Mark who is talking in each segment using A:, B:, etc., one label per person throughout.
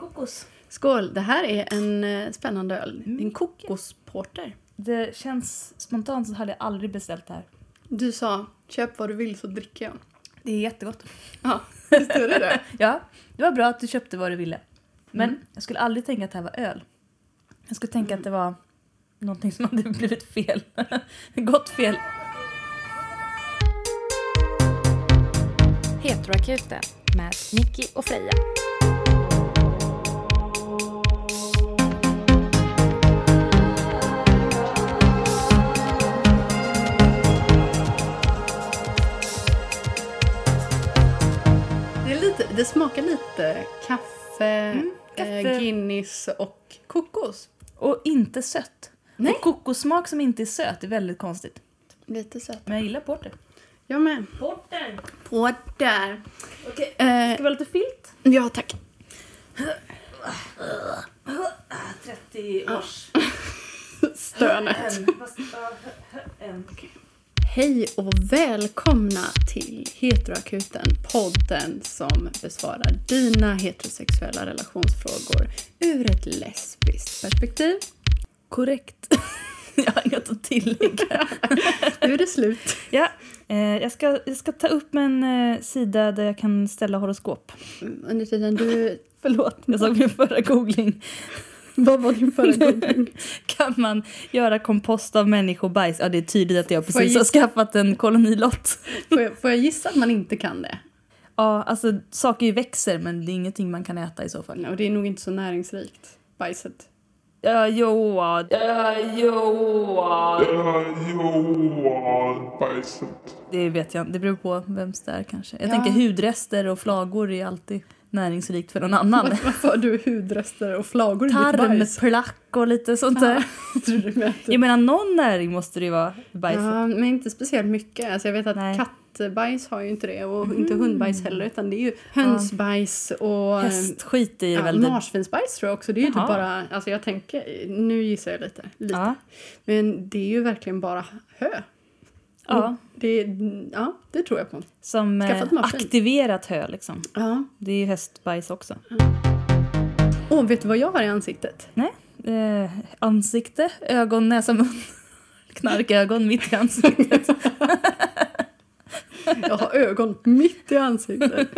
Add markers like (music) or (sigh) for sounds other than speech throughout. A: kokos.
B: Skål! Det här är en eh, spännande öl. En kokosporter.
A: Det känns spontant så hade jag aldrig beställt det här.
B: Du sa köp vad du vill så dricker jag.
A: Det är jättegott.
B: Ja, visst är det det?
A: Ja, det var bra att du köpte vad du ville. Men jag skulle aldrig tänka att det här var öl. Jag skulle tänka att det var någonting som hade (laughs) blivit fel. Gått fel.
C: Heteroakuten med Nicky och Freja.
B: (laughs) Det, är lite, det smakar lite kaffe,
A: kaffe.
B: Eh, Guinness och kokos.
A: Och inte sött.
B: Nej.
A: Och kokossmak som inte är söt är väldigt konstigt.
B: Lite sött.
A: Men jag gillar porter.
B: Jag med.
A: Porter!
B: På där.
A: Okej,
B: Eh,
A: ska vi ha lite filt?
B: ja, (laughs) tack.
A: 30 års...
B: Stönet. Hej och välkomna till Heteroakuten, podden som besvarar dina heterosexuella relationsfrågor ur ett lesbiskt perspektiv.
A: (laughs) Korrekt. (laughs) jag har inget att tillägga.
B: Nu är det slut.
A: ja, eh, jag, ska, jag ska ta upp en eh, sida där jag kan ställa horoskop.
B: Under tiden du...
A: (laughs) Förlåt, jag sa min förra googling.
B: Vad var din förra
A: (laughs)
B: gång?
A: Kan man göra kompost av människobajs? Ja, det är tydligt att jag
B: Får jag
A: precis har skaffat en kolonilott.
B: Får jag, får jag gissa att man inte kan det?
A: Ja, alltså saker ju växer men det är ingenting man kan äta i så fall.
B: Och det är nog inte så näringsrikt, bajset.
A: Ja, jo, ja, jo.
D: Johan Bajset.
A: Det vet jag inte. det beror på vems det är kanske. Jag
B: Ja.
A: tänker hudrester och flagor är alltid näringsrikt för någon annan.
B: Varför har du hudrester och flagor i ditt bajs? (laughs)
A: Tarmplack och lite sånt där.
B: Jag tror du menar typ-
A: Jag menar någon näring måste det ju vara i bajset.
B: Ja, men inte speciellt mycket. Alltså jag vet att
A: Nej. Mm.
B: kattbajs har ju inte det och inte hundbajs heller utan det är ju hönsbajs och eh,
A: Hästskit är det
B: ja,
A: väl. det-
B: marsvinsbajs tror jag också. Det är ju
A: Jaha.
B: typ bara, alltså jag tänker, nu gissar jag lite, lite.
A: Ja.
B: Men det är ju verkligen bara hö.
A: Ja.
B: Det, ja, det tror jag på.
A: Som eh,
B: Skaffat maskin.
A: aktiverat hö liksom.
B: Ja.
A: Det är ju hästbajs också.
B: Åh, vet du vad jag har i ansiktet?
A: Nej. Eh, ansikte, ögon, näsa, mun. (laughs) Knarkögon mitt i (laughs) ansiktet.
B: Jag har ögon mitt i ansiktet.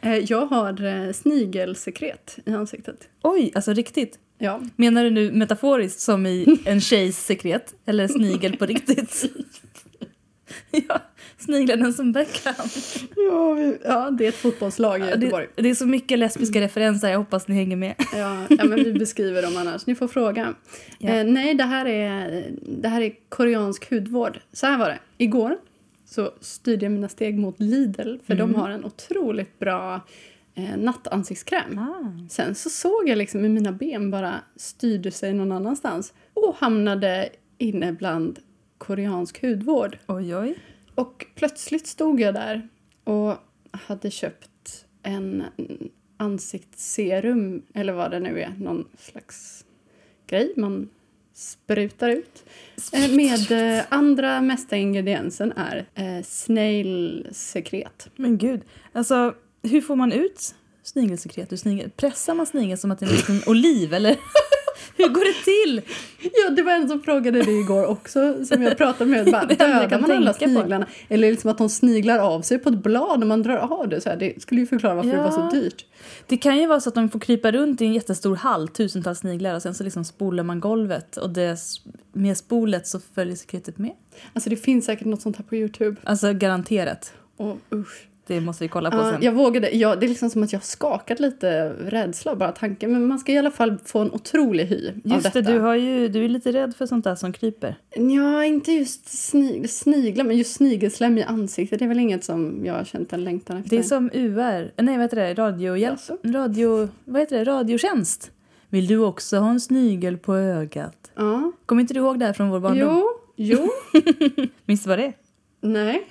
B: Eh, Jag har eh, snigelsekret i ansiktet.
A: Oj, alltså riktigt.
B: Ja,
A: Menar du nu metaforiskt som i en tjejs sekret? Eller snigel på riktigt? (laughs) ja, sniglar den som Beckham.
B: ja, vi- ja det är ett fotbollslag i
A: Ja,
B: Göteborg.
A: det, det är så mycket lesbiska referenser, jag hoppas ni hänger med.
B: Ja, ja, men vi beskriver dem annars. Ni får fråga.
A: Ja.
B: Eh, nej, det här, är, det här är koreansk hudvård. Så här var det. Igår så styrde jag mina steg mot Lidl för
A: Mm.
B: de har en otroligt bra eh, nattansiktskräm.
A: Ah.
B: Sen så såg jag liksom hur mina ben bara styrde sig någon annanstans och hamnade inne bland koreansk hudvård.
A: Oj, oj.
B: Och plötsligt stod jag där och hade köpt en ansiktsserum, eller vad det nu är, någon slags grej man sprutar ut. Eh, Med eh, andra mesta ingrediensen är eh, snailsekret.
A: Men gud, alltså hur får man ut snigelsekret ur snigel? Pressar man snigeln som att det är en
B: (laughs)
A: liten oliv eller? (laughs) hur går det till?
B: Ja, det var en som frågade det igår också, som jag pratade med.
A: (laughs)
B: Bara,
A: Det enda jag
B: dödar
A: kan
B: man alla
A: tänka på.
B: sniglarna? Eller liksom att de sniglar av sig på ett blad och man drar av det. Så här, det skulle ju förklara varför det var så
A: Ja.
B: dyrt.
A: Det kan ju vara så att de får krypa runt i en jättestor hall, tusentals sniglar och sen så liksom spolar man golvet och det, med spolet så följer sekretet med.
B: Alltså det finns säkert något sånt här på Youtube.
A: Alltså garanterat.
B: Och usch.
A: Det måste vi kolla på
B: Ja,
A: sen.
B: jag vågade. Ja, det är liksom som att jag har skakat lite av rädsla av bara tanken. Men man ska i alla fall få en otrolig hy av
A: Just
B: detta.
A: det, du, har ju, du är lite rädd för sånt där som kryper.
B: Ja, inte just snig, sniglar, men just snigelslem i ansiktet. Det är väl inget som jag har känt en längtan efter.
A: Det är som UR, nej vad heter det, radiohjälp,
B: Jaså?
A: radio, vad heter det, radiotjänst. Vill du också ha en snigel på ögat?
B: Ja.
A: Kommer inte du ihåg det här från vår barndom?
B: Jo. Jo.
A: Minns du vad det är?
B: Nej.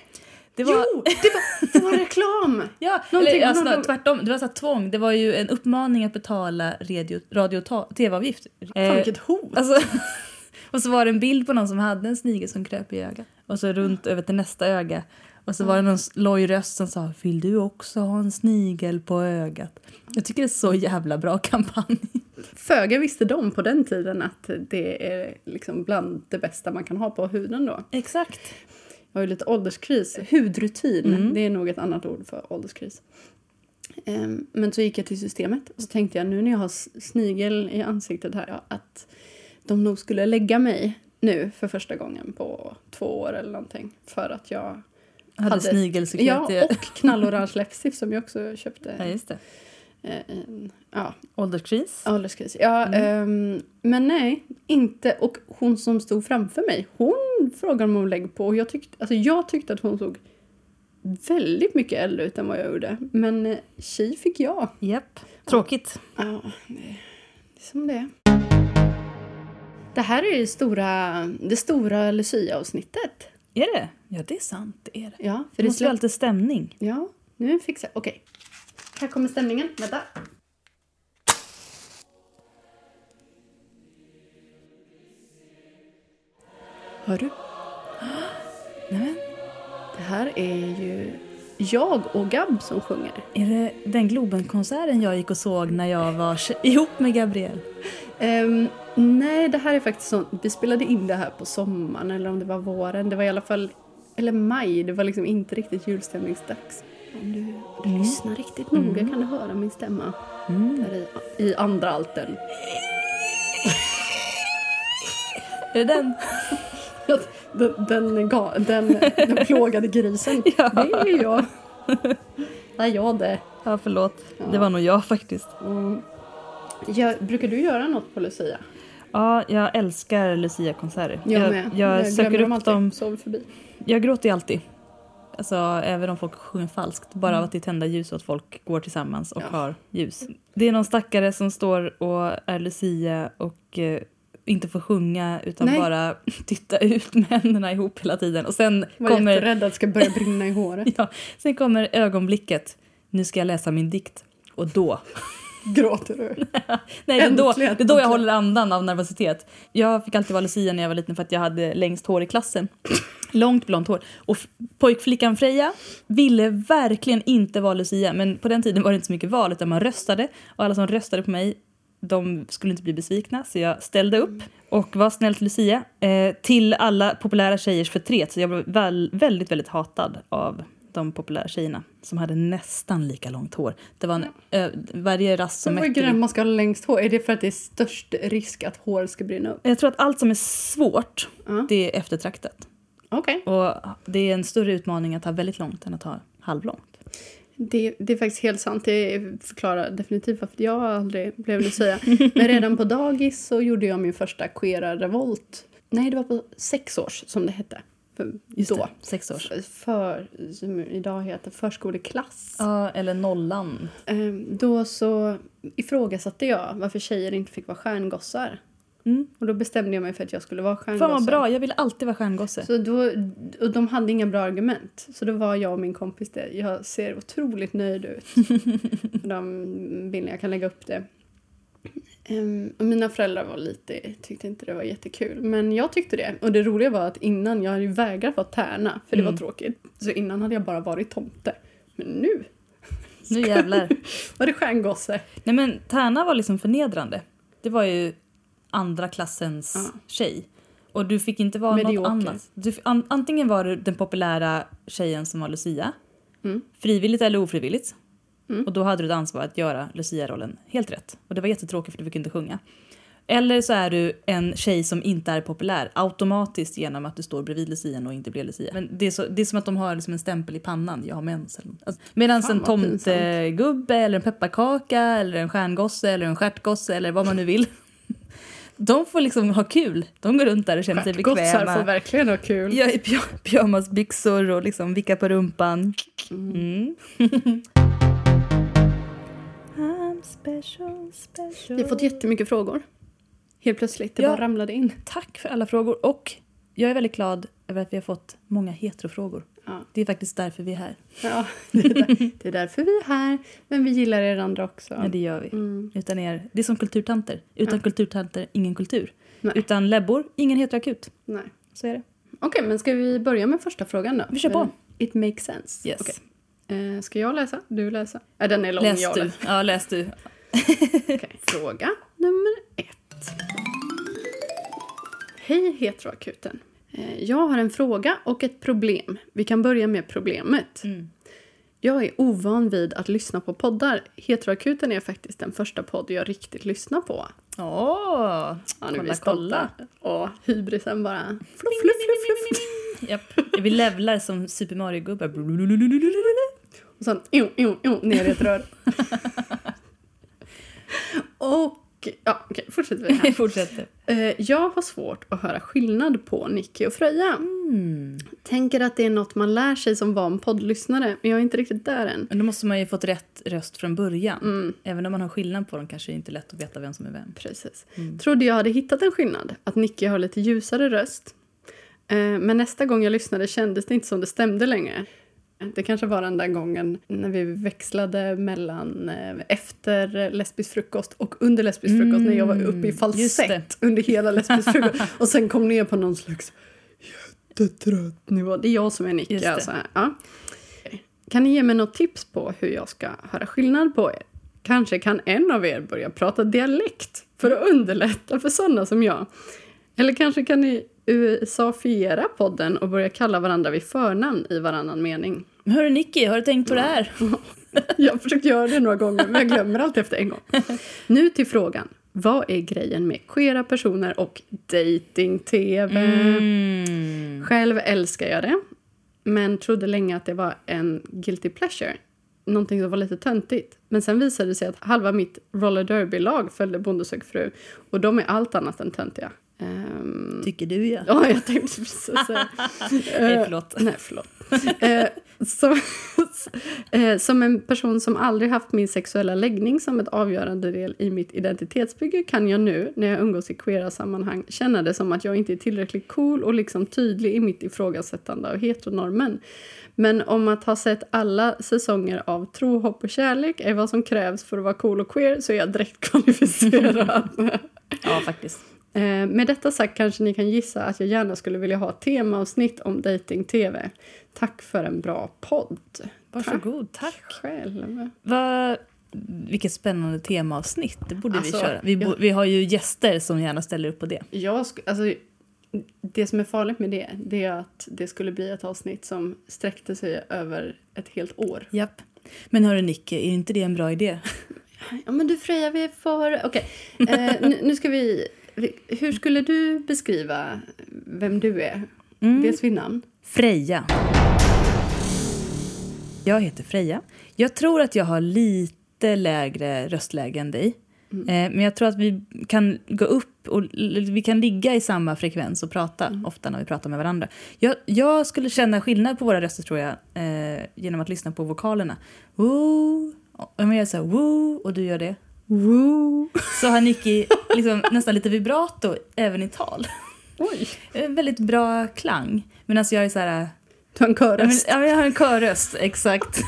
A: Det
B: Jo! Det var, det var reklam!
A: Ja,
B: Någonting,
A: eller, alltså,
B: någon-
A: tvärtom. Det var så här tvång. Det var ju en uppmaning att betala radio, radio ta- tv-avgift.
B: Fan,
A: Eh,
B: vilket hot!
A: alltså, (laughs) och så var det en bild på någon som hade en snigel som kröp i ögat. Och så runt över till nästa öga. Och så var det någon loj röst som sa “Vill du också ha en snigel på ögat?” Jag tycker det är så jävla bra kampanj.
B: Föga visste de på den tiden att det är liksom bland det bästa man kan ha på huden då.
A: Exakt.
B: Jag har ju lite ålderskris. Hudrutin, det är nog ett annat ord för ålderskris. Ehm, men så gick jag till systemet och så tänkte jag nu när jag har s- snigel i ansiktet här ja, att de nog skulle lägga mig nu för första gången på två år eller någonting för att jag
A: Hade,
B: Hade-
A: snigelsekret.
B: Ja,
A: i-
B: och knallorange läppstift som jag också
A: (laughs) ja,
B: köpte.
A: just det.
B: eh, i- Ja,
A: Ålderskris.
B: ålderskris. Ja, ehm, men nej, inte. Och hon som stod framför mig, hon frågade om hon lägg på. Och jag, tyckte, alltså jag tyckte att hon såg väldigt mycket äldre ut än vad jag gjorde. Men eh, tji fick jag.
A: Japp. Tråkigt.
B: Ja, det det är som det är. Det här är det stora, det stora Lucia-avsnittet.
A: Är det? Ja, det är sant. Det är det.
B: Ja, för
A: Det måste
B: det
A: ju
B: släpp...
A: alltid stämning.
B: Ja, nu fixar jag. Okej. Här kommer stämningen. Vänta. Hör du? (gasps)
A: Nej,
B: Det här är ju jag och Gab som sjunger.
A: men, är det den Globenkonserten jag gick och såg när jag var tje- (laughs) ihop med Gabriel?
B: Ehm, nej, det här är faktiskt sånt. Vi spelade in det här på sommaren eller om det var våren. Det var i alla fall, eller maj, det var liksom inte riktigt julstämningsdags. Om du, du
A: Mm.
B: lyssnar riktigt noga kan du höra min stämma. Där i, I andra altern.
A: Är det den?
B: Den, (laughs) den, ga- den, den plågade grisen.
A: (laughs) Ja.
B: Det är jag. Det är jag det.
A: (laughs) Ja, förlåt. Det var nog jag faktiskt.
B: Mm. Ja, brukar du göra något på Lucia?
A: Ja, jag älskar Lucia-konserter. jag, jag söker
B: glömmer
A: upp
B: alltid.
A: dem.
B: Sover förbi.
A: Jag gråter ju alltid. Alltså, även om folk sjunger falskt. Bara av att det är tända ljus och att folk går tillsammans och
B: Ja.
A: har ljus. Det är någon stackare som står och är Lucia och eh, inte får sjunga utan
B: Nej.
A: bara (laughs) titta ut med händerna ihop hela tiden. Och sen
B: Var
A: kommer,
B: jätterädd att det ska börja brinna i (laughs) håret.
A: (laughs) ja, sen kommer ögonblicket. Nu ska jag läsa min dikt. Och då
B: Gråter du?
A: Nej, det är, då, det
B: Äntligen.
A: är då jag håller andan av nervositet. Jag fick alltid vara Lucia när jag var liten för att jag hade längst hår i klassen. Långt blont hår. Och f- pojkflickan Freja ville verkligen inte vara Lucia men på den tiden var det inte så mycket val utan man röstade och alla som röstade på mig de skulle inte bli besvikna så jag ställde upp och var snällt Lucia eh, till alla populära tjejers förtret så jag blev väl, väldigt, väldigt hatad av de populära tjejerna som hade nästan lika långt hår. Det var en, ö, varje rast som
B: Som
A: mätte
B: är man ska ha längst hår? Är det för att det är störst risk att hår ska brinna upp?
A: Jag tror att allt som är svårt,
B: Ja.
A: det är eftertraktat.
B: Okej.
A: Och det är en större utmaning att ha väldigt långt än att ha halvlångt.
B: Det, det är faktiskt helt sant. Det förklarar definitivt varför jag aldrig
A: (laughs)
B: blev Lucia. Men redan på dagis så gjorde jag min första queera revolt. Nej, det var på sex års som det hette. För,
A: Just
B: då.
A: det, sex års.
B: F- För, som idag heter förskoleklass.
A: Ja, eller nollan.
B: Ehm, Då så ifrågasatte jag varför tjejer inte fick vara stjärngossar.
A: Mm.
B: Och då bestämde jag mig för att jag skulle vara stjärngosse.
A: Fan vad bra, jag ville alltid vara stjärngosse.
B: Så då, och de hade inga bra argument. Så då var jag och min kompis där. Jag ser otroligt
A: (laughs)
B: nöjd ut. På de bilderna, jag kan lägga upp det. Ehm, och mina föräldrar var lite, tyckte inte det var jättekul. Men jag tyckte det. Och det roliga var att innan, jag hade ju vägrat vara tärna. För det var
A: Mm.
B: tråkigt. Så innan hade jag bara varit tomte. Men nu
A: Nu jävlar.
B: var det stjärngosse.
A: Nej men Tärna var liksom förnedrande. Det var ju andra klassens
B: Ja.
A: tjej. Och du fick inte vara något
B: Medioker.
A: annat. Du, f- an, antingen var du den populära tjejen som var Lucia,
B: Mm.
A: frivilligt eller ofrivilligt.
B: Mm.
A: Och då hade du ett ansvar att göra Lucia-rollen helt rätt. Och det var jättetråkigt för du fick inte sjunga. Eller så är du en tjej som inte är populär automatiskt genom att du står bredvid lucian och inte blir lucia. Men det är, så, det är som att de har liksom en stämpel i pannan, jag har mens. eller något. Alltså, Medan
B: Fan,
A: en
B: vad
A: tomtegubbe eller en pepparkaka eller en stjärngosse eller en stjärtgosse eller vad man nu vill. (laughs) De får liksom ha kul. De går runt där och känner sig
B: Stjärtgossar får
A: bekväma.
B: verkligen ha kul.
A: Ja, i py- pyjamasbyxor och liksom vicka på rumpan.
B: (laughs)
A: Mm. I'm special, special.
B: Vi har fått jättemycket frågor. Helt plötsligt, det
A: Ja.
B: bara ramlade in.
A: Tack för alla frågor. Och jag är väldigt glad över att vi har fått många heterofrågor.
B: Ja.
A: Det är faktiskt därför vi är här.
B: Ja, (laughs) det är, där, det är därför vi är här. Men vi gillar er andra också.
A: Men det gör vi.
B: Mm.
A: Utan er, det är som kulturtanter. Utan kulturtanter, ingen kultur.
B: Nej.
A: Utan lebbor, ingen heteroakut.
B: Nej.
A: Så är det.
B: Okej, men ska vi börja med första frågan då?
A: Vi kör på.
B: Eller- It makes sense.
A: Yes.
B: Okej. Eh, ska jag läsa? Du läsa? Ja, den är lång.
A: Läs
B: jag
A: du.
B: läser.
A: Ja, läs du. (laughs)
B: Okej. Fråga nummer ett. Hej heteroakuten. Eh, Jag har en fråga och ett problem. Vi kan börja med problemet.
A: Mm.
B: Jag är ovan vid att lyssna på poddar. Heteroakuten är faktiskt den första podd jag riktigt lyssnar på.
A: Åh!
B: Ja, nu är
A: Kolla,
B: vi stolta. Och hybrisen bara... Fluff, fluff, fluff, fluff.
A: Japp. Vi levlar som Super Mario-gubbar.
B: (laughs) Och sen jo, jo, jo, ner i ett rör. och... Ja, okej, fortsätter vi
A: (laughs)
B: här.
A: Fortsätter.
B: Eh, Jag har svårt att höra skillnad på Nicky och Freja.
A: Mm.
B: Tänker att det är något man lär sig som van poddlyssnare, men jag är inte riktigt där än.
A: Men då måste man ju fått rätt röst från början.
B: Mm,
A: Även om man har skillnad på dem kanske det är inte lätt att veta vem som är vem.
B: precis.
A: Mm.
B: Trodde jag hade hittat en skillnad, att Nicky har lite ljusare röst. Eh, Men nästa gång jag lyssnade kändes det inte som det stämde längre. Det kanske var den där gången när vi växlade mellan eh, efter lesbisk frukost och under lesbisk frukost när jag var uppe i
A: Mm, just
B: falsett under hela
A: (laughs)
B: lesbisk frukost och sen kom ner på någon slags jättetrött nivå. Det är jag som är
A: Just
B: Nicky.
A: det.
B: Alltså. Ja. Kan ni ge mig något tips på hur jag ska höra skillnad på er? Kanske kan en av er börja prata dialekt för att underlätta för sådana som jag. Eller kanske kan ni USA-fiera podden och börja kalla varandra vid förnamn i varannan mening. (laughs)
A: Men Hörru Nicky, har du tänkt på det här?
B: Jag har försökt göra det några gånger, men jag glömmer alltid
A: (laughs)
B: efter en gång. Nu till frågan. Vad är grejen med queera personer och dating-tv?
A: Mm.
B: Själv älskar jag det, men trodde länge att det var en guilty pleasure. Någonting som var lite töntigt. Men sen visade det sig att halva mitt roller derby-lag följde Bonde söker fru och de är allt annat än töntiga. Ehm,
A: Tycker du ja.
B: (laughs) Ja, jag tänkte precis säga.
A: Nej, förlåt.
B: Nej, förlåt. Eh, som, (laughs) eh, som en person som aldrig haft min sexuella läggning som ett avgörande del i mitt identitetsbygge kan jag nu, när jag umgås i queera sammanhang, känna det som att jag inte är tillräckligt cool och liksom tydlig i mitt ifrågasättande av heteronormen. Men om att ha sett alla säsonger av Tro, hopp och kärlek är vad som krävs för att vara cool och queer så är jag direkt kvalificerad. (laughs)
A: Ja, faktiskt.
B: Eh, Med detta sagt kanske ni kan gissa att jag gärna skulle vilja ha ett temaavsnitt om dating-tv. Tack för en bra podd.
A: Varsågod, tack.
B: Själv.
A: Va, vilket spännande temaavsnitt. Det borde
B: Alltså,
A: vi köra. Vi, bo, vi har ju gäster som gärna ställer upp på det.
B: Jag sk- alltså, det som är farligt med det, det är att det skulle bli ett avsnitt som sträckte sig över ett helt år.
A: Japp. Men hörru Nicky, är inte det en bra idé?
B: Ja, men du Freja, vi är för... Okej, (laughs) eh, nu, nu ska vi... vi- Hur skulle du beskriva vem du är? Dels vid namn.
A: Freja. Jag heter Freja. Jag tror att jag har lite lägre röstläge än dig. Eh, Men jag tror att vi kan gå upp och l- vi kan ligga i samma frekvens och prata ofta när vi pratar med varandra. Jag, jag skulle känna skillnad på våra röster tror jag eh, genom att lyssna på vokalerna. Woo. Om jag gör så här woo och du gör det. Woo. Så har Nicky liksom, nästan lite vibrato även i tal.
B: Oj!
A: En väldigt bra klang. Medan jag är så här...
B: Du har en
A: Ja, men,
B: körröst.
A: ja, men jag har en körröst, exakt.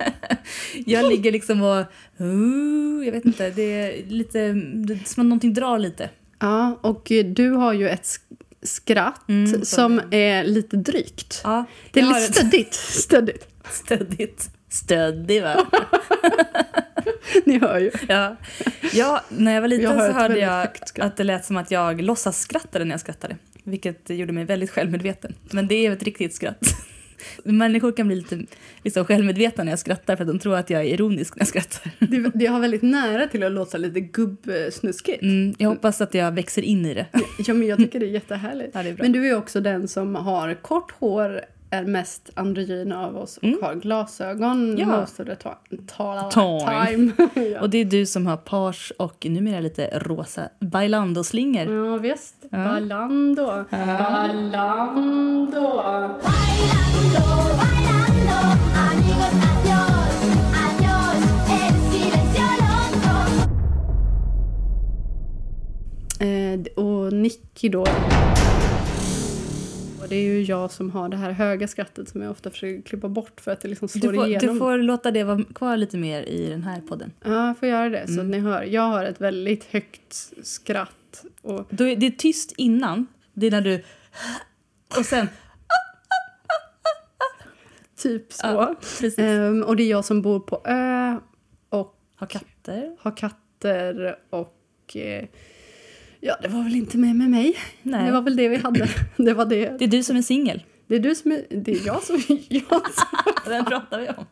A: (laughs) jag ligger liksom och... "Ooh", jag vet inte, det är lite... Det är som att någonting drar lite.
B: Ja, och eh, du har ju ett sk- skratt
A: Mm, som-
B: som är lite drygt.
A: Ja,
B: det är
A: jag
B: lite
A: har ett
B: (laughs) stöddigt. stöddigt.
A: (laughs) stöddigt. Stöddig, va?
B: Ni hör ju.
A: Ja. ja, när jag var liten
B: Jag har
A: så
B: ett
A: hörde
B: väldigt
A: jag
B: högt skratt.
A: att det lät som att jag låtsas skrattade när jag skrattade. Vilket gjorde mig väldigt självmedveten. Men det är ju ett riktigt skratt. (laughs) Människor kan bli lite liksom, självmedvetna när jag skrattar för att de tror att jag är ironisk när jag skrattar.
B: Det, det har väldigt nära till att låta lite gubbsnuskigt.
A: Mm, jag hoppas att jag växer in i det.
B: Ja, men jag tycker det är jättehärligt.
A: Ja, det är bra.
B: Men du är också den som har kort hår, är mest androgyn av oss och har glasögon
A: Ja.
B: most of the ta- ta-
A: Time.
B: time. (laughs) ja.
A: Och det är du som har page och numera lite rosa Bailando-slingor.
B: ja, visst. Ballando. Ballando.
D: Bailando, bailando, amigos, adiós, adiós, el silencio loco.
B: Eh, d- och Nicky då. Och det är ju jag som har det här höga skrattet som jag ofta försöker klippa bort för att det liksom slår
A: Du får,
B: igenom.
A: du får låta det vara kvar lite mer i den här podden.
B: Ja, jag får göra det
A: Mm.
B: så att ni hör. Jag har ett väldigt högt skratt. Och
A: Då är, det är tyst innan. Det är när du... Och sen...
B: Typ så.
A: Ja, precis.
B: Ehm, och det är jag som bor på ö och
A: Har katter?
B: har katter och... eh, Ja, det var väl inte mer med mig.
A: Nej.
B: Det var väl det
A: (clears throat)
B: vi hade. Det var det.
A: Det är du som är singel.
B: Det är du som är... Det är jag som är... (laughs) Jag som,
A: (laughs) Den pratar vi om.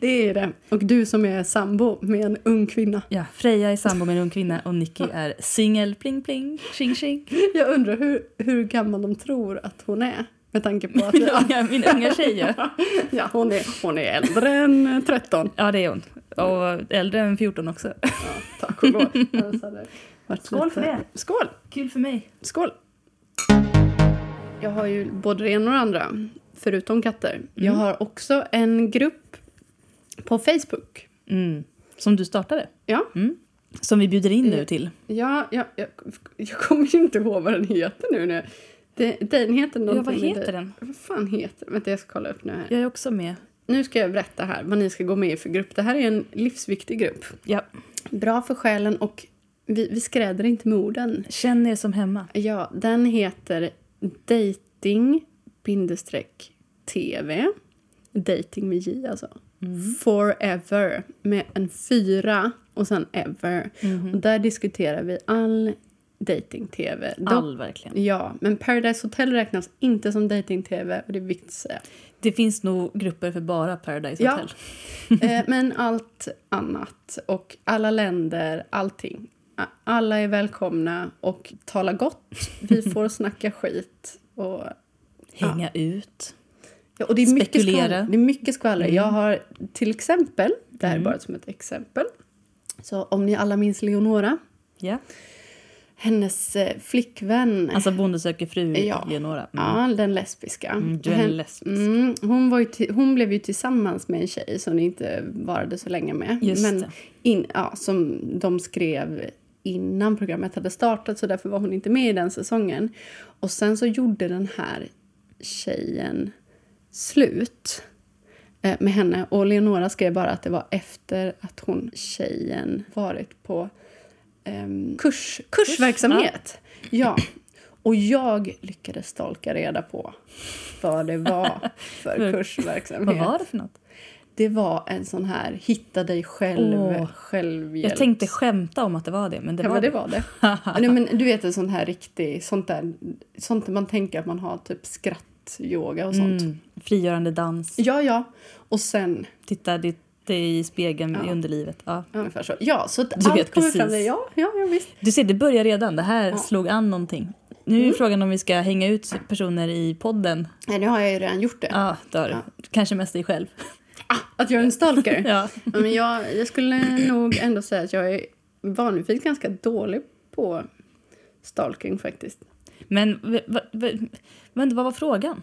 B: det är det. Och du som är sambo med en ung kvinna.
A: Ja, Freja är sambo med en ung kvinna och Nicky är singel. Pling, pling, tjing, tjing.
B: (laughs) Jag undrar hur, hur gammal de tror att hon är. Med
A: (laughs)
B: tanke på att... Ja,
A: Unga- Min unga tjej ju. (laughs)
B: ja hon, är, hon är äldre än 13.
A: Ja, det är hon. Och äldre än 14 också.
B: Tack och lov. Annars hade det varit
A: Skål för
B: lite- Skål!
A: Kul för mig.
B: Skål! Jag har ju både det ena och det andra, förutom katter. Jag
A: Mm.
B: har också en grupp på Facebook.
A: Mm. Som du startade.
B: Ja,
A: Mm. Som vi bjuder in nu till.
B: ja, ja jag, jag kommer ju inte ihåg vad den heter nu. nu. Det, den heter någonting.
A: vad
B: med
A: heter
B: det.
A: den?
B: Vad fan heter den? Vänta, jag ska kolla upp nu här.
A: Jag är också med.
B: Nu ska jag berätta här vad ni ska gå med i för grupp. Det här är en livsviktig grupp.
A: Ja.
B: Bra för själen och vi, vi skräder inte med orden.
A: Känn er som hemma.
B: Ja, den heter dating bindestreck tv. Dating med J alltså. Forever med en fyra och sen ever. Och där diskuterar vi all dating tv.
A: All, verkligen.
B: Ja, men Paradise Hotel räknas inte som dating tv och det är viktigt att säga.
A: Det finns nog grupper för bara Paradise
B: Ja.
A: Hotel.
B: Eh, Men allt annat och alla länder, allting. A- Alla är välkomna och tala gott.
A: (laughs)
B: Vi får snacka skit. Och
A: Hänga ut.
B: Ja, och det är mycket
A: Spekulera. Mm.
B: skvaller. Det är mycket skvaller. Jag har till exempel, det här är bara som ett exempel. Så om ni alla minns Leonora,
A: Ja.
B: hennes eh, flickvän.
A: Alltså Bonde söker fru
B: Ja.
A: ja. Leonora. Mm.
B: Ja, den lesbiska.
A: du är en
B: Hen-
A: lesbisk.
B: Mm, hon, var ju ti- hon blev ju tillsammans med en tjej som det inte varade så länge med.
A: Just
B: Men
A: det.
B: in, ja, som de skrev innan programmet hade startat så därför var hon inte med i den säsongen. Och sen så gjorde den här tjejen slut eh, med henne och Leonora skrev bara att det var efter att hon, tjejen, varit på ehm, kurs, kursverksamhet. Ja. Och jag lyckades stalka reda på vad
A: (laughs)
B: det var för
A: För-
B: kursverksamhet.
A: Vad var det för något?
B: Det var en sån här hitta dig själv,
A: Åh.
B: självhjälp.
A: Jag tänkte skämta om att det var det, men det
B: ja,
A: var
B: men
A: (laughs)
B: det var det. Nej, men du vet en sån här riktig, sånt där, sånt där man tänker att man har typ skrattyoga och sånt.
A: Mm. Frigörande dans.
B: Ja, ja. Och sen,
A: Titta det, det är i spegeln i underlivet. Ja.
B: ungefär så. Ja, så att
A: Du
B: allt
A: vet
B: kommer
A: precis.
B: fram där. Ja, ja, ja, visst.
A: Du ser, det börjar redan. Det här slog an någonting. Nu är frågan om vi ska hänga ut personer i podden.
B: Nej, nu har jag ju redan gjort det.
A: Ja, det har du. Kanske mest dig (laughs) själv.
B: Att jag är en stalker.
A: Ja.
B: Ja, Men jag, jag skulle nog ändå säga att jag är vanligtvis ganska dålig på stalking faktiskt.
A: Men, v- va, va, men vad var frågan?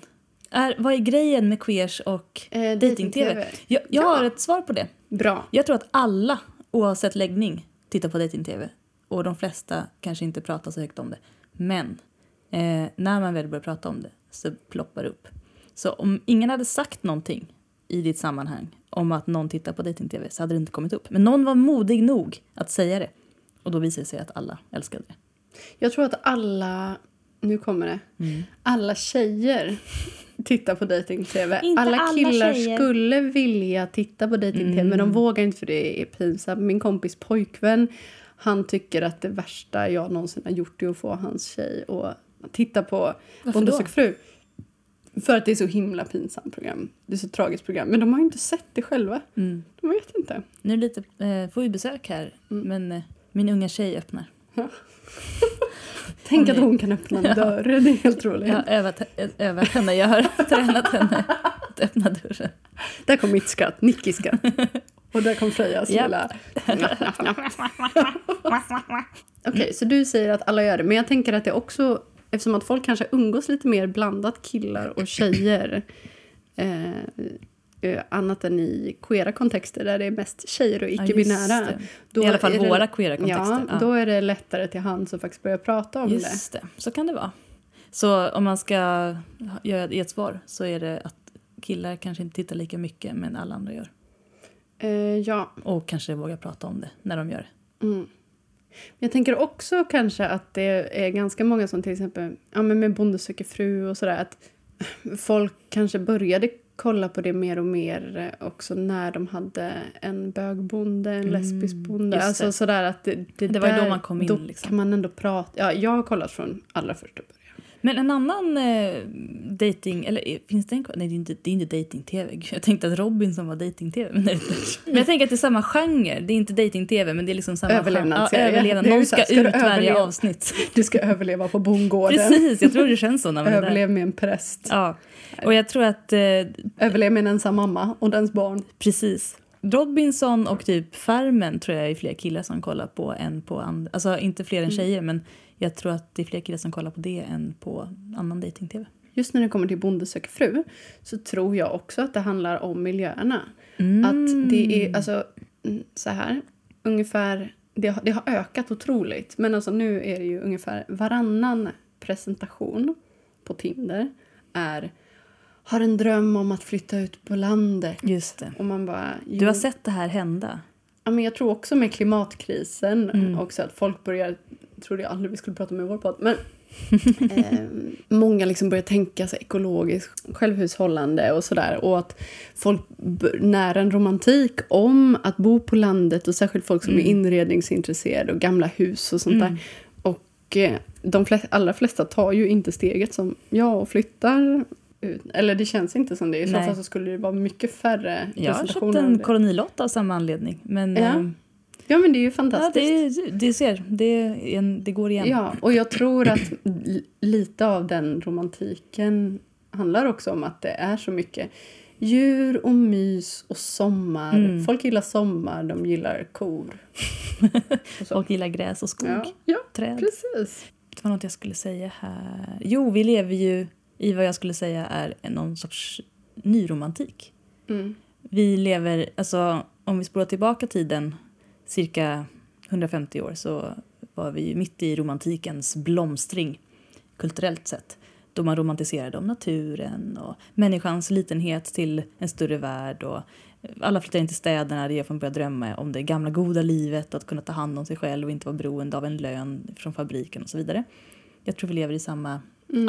A: Är, vad är grejen med queers och
B: Eh,
A: dating-tv?
B: dating-tv.
A: Jag, jag
B: Ja.
A: har ett svar på det.
B: Bra.
A: Jag tror att alla, oavsett läggning, tittar på dating-tv. Och de flesta kanske inte pratar så högt om det. Men eh, när man väl börjar prata om det så ploppar det upp. Så om ingen hade sagt någonting i ditt sammanhang om att någon tittar på dating-tv så hade det inte kommit upp. Men någon var modig nog att säga det. Och då visade det sig att alla älskade det.
B: Jag tror att alla... Nu kommer det.
A: Mm.
B: Alla tjejer tittar på dating-tv.
A: Inte
B: alla
A: alla
B: killar
A: tjejer. Mm.
B: skulle vilja titta på dating-tv men de vågar inte för det är pinsamt. Min kompis pojkvän han tycker att det värsta jag någonsin har gjort är att få hans tjej att titta på
A: Varför
B: Bonde
A: då?
B: söker fru. För att det är så himla pinsamt program. Det är så tragiskt program. Men de har ju inte sett det själva.
A: Mm.
B: De vet inte.
A: Nu är det lite, eh, får vi besök här,
B: Mm.
A: men eh, min unga tjej öppnar.
B: Tänk att hon kan öppna
A: (laughs)
B: en dörr. Det är helt roligt.
A: Jag har övat, ö- övat henne, jag har (laughs) tränat henne att öppna dörren.
B: Där kom mitt skratt, Nickis
A: (laughs)
B: skratt. Och där kom Frejas
A: Japp.
B: lilla... (laughs) Okej, så du säger att alla gör det. Men jag tänker att det också... Eftersom att folk kanske umgås lite mer blandat killar och tjejer eh, eh, annat än i queera kontexter där det är mest tjejer och
A: just
B: icke-binära.
A: det.
B: då
A: I alla fall
B: är det-
A: våra queera kontexter.
B: Ja, då är det lättare till hands att faktiskt börja prata om det.
A: Just det, så kan det vara. Så om man ska ha- göra ett svar så är det att killar kanske inte tittar lika mycket men alla andra gör.
B: Eh, ja,
A: Och kanske vågar prata om det när de gör det.
B: Mm. Jag tänker också kanske att det är ganska många som till exempel ja, men med Bonde söker fru och sådär att folk kanske började kolla på det mer och mer eh, också när de hade en bögbonde, en lesbisk bonde.
A: Mm, just
B: Alltså
A: det.
B: sådär att det, det,
A: Det var ju
B: där-
A: då man kom in,
B: Då
A: liksom.
B: kan man ändå prata. Ja, jag har kollat från allra första början.
A: Men en annan eh, dating, eller eh, finns det en Nej, det är inte, det är inte dating-tv. (laughs) Gud, Jag tänkte att Robinson var dating-tv. Men, det är det inte. men jag tänker att det är samma genre. Det är inte dating-tv, men det är liksom samma
B: Överlevnadsserie.
A: genre. Ja, överlevnad.
B: Det är ju
A: Någon
B: så
A: ska,
B: här, ska du
A: ut varje
B: överleva?
A: avsnitt.
B: Du ska överleva
A: (laughs)
B: på bondgården.
A: Precis, jag tror det känns så när man är där.
B: Överlev med en präst.
A: Ja. Och jag tror att eh,
B: Överlev med en ensam mamma och dens barn.
A: Precis. Robinson och typ Farmen tror jag är fler killar som kollar på än på andra. Alltså inte fler än
B: Mm.
A: tjejer men jag tror att det är fler killar som kollar på det än på annan dating-tv.
B: Just när det kommer till Bonde söker fru så tror jag också att det handlar om miljöerna.
A: Mm.
B: Att det är, alltså, mm, så här, ungefär, det, har- det har ökat otroligt. Men alltså nu är det ju ungefär varannan presentation på Tinder är har en dröm om att flytta ut på landet.
A: Just det.
B: Och man bara,
A: Du har
B: jo.
A: sett det här hända.
B: Ja, men jag tror också med klimatkrisen
A: Mm.
B: också att folk börjar, trodde jag aldrig vi skulle prata om i vår podd, men (laughs) eh, många liksom börjar tänka så här ekologiskt, självhushållande och sådär. Och att folk b- när en romantik om att bo på landet och särskilt folk
A: Mm.
B: som är inredningsintresserade och gamla hus och sånt där. Och eh, de flest, allra flesta tar ju inte steget som jag och flyttar ut. Eller det känns inte som det. I så
A: Nej.
B: fall så skulle det vara mycket färre
A: Jag har
B: presentationer
A: köpt
B: av
A: en
B: det.
A: kolonilott av samma anledning. Men
B: Ja,
A: eh,
B: Ja, men det är ju
A: ja,
B: fantastiskt.
A: det, det ser, det, är en, det går igen.
B: Ja, och jag tror att l- lite av den romantiken handlar också om att det är så mycket djur och mys och sommar. Folk gillar sommar, de gillar kor. Och så.
A: Folk gillar gräs och skog.
B: ja, ja,
A: Träd.
B: precis.
A: Det var något jag skulle säga här. Jo, vi lever ju i vad jag skulle säga är någon sorts nyromantik.
B: Mm.
A: Vi lever, alltså om vi spolar tillbaka tiden cirka 150 år så var vi ju mitt i romantikens blomstring kulturellt sett. Då man romantiserade om naturen och människans litenhet till en större värld. Och alla flyttar in till städerna, det gör att man börjar drömma om det gamla goda livet, att kunna ta hand om sig själv och inte vara beroende av en lön från fabriken och så vidare. Jag tror vi lever i samma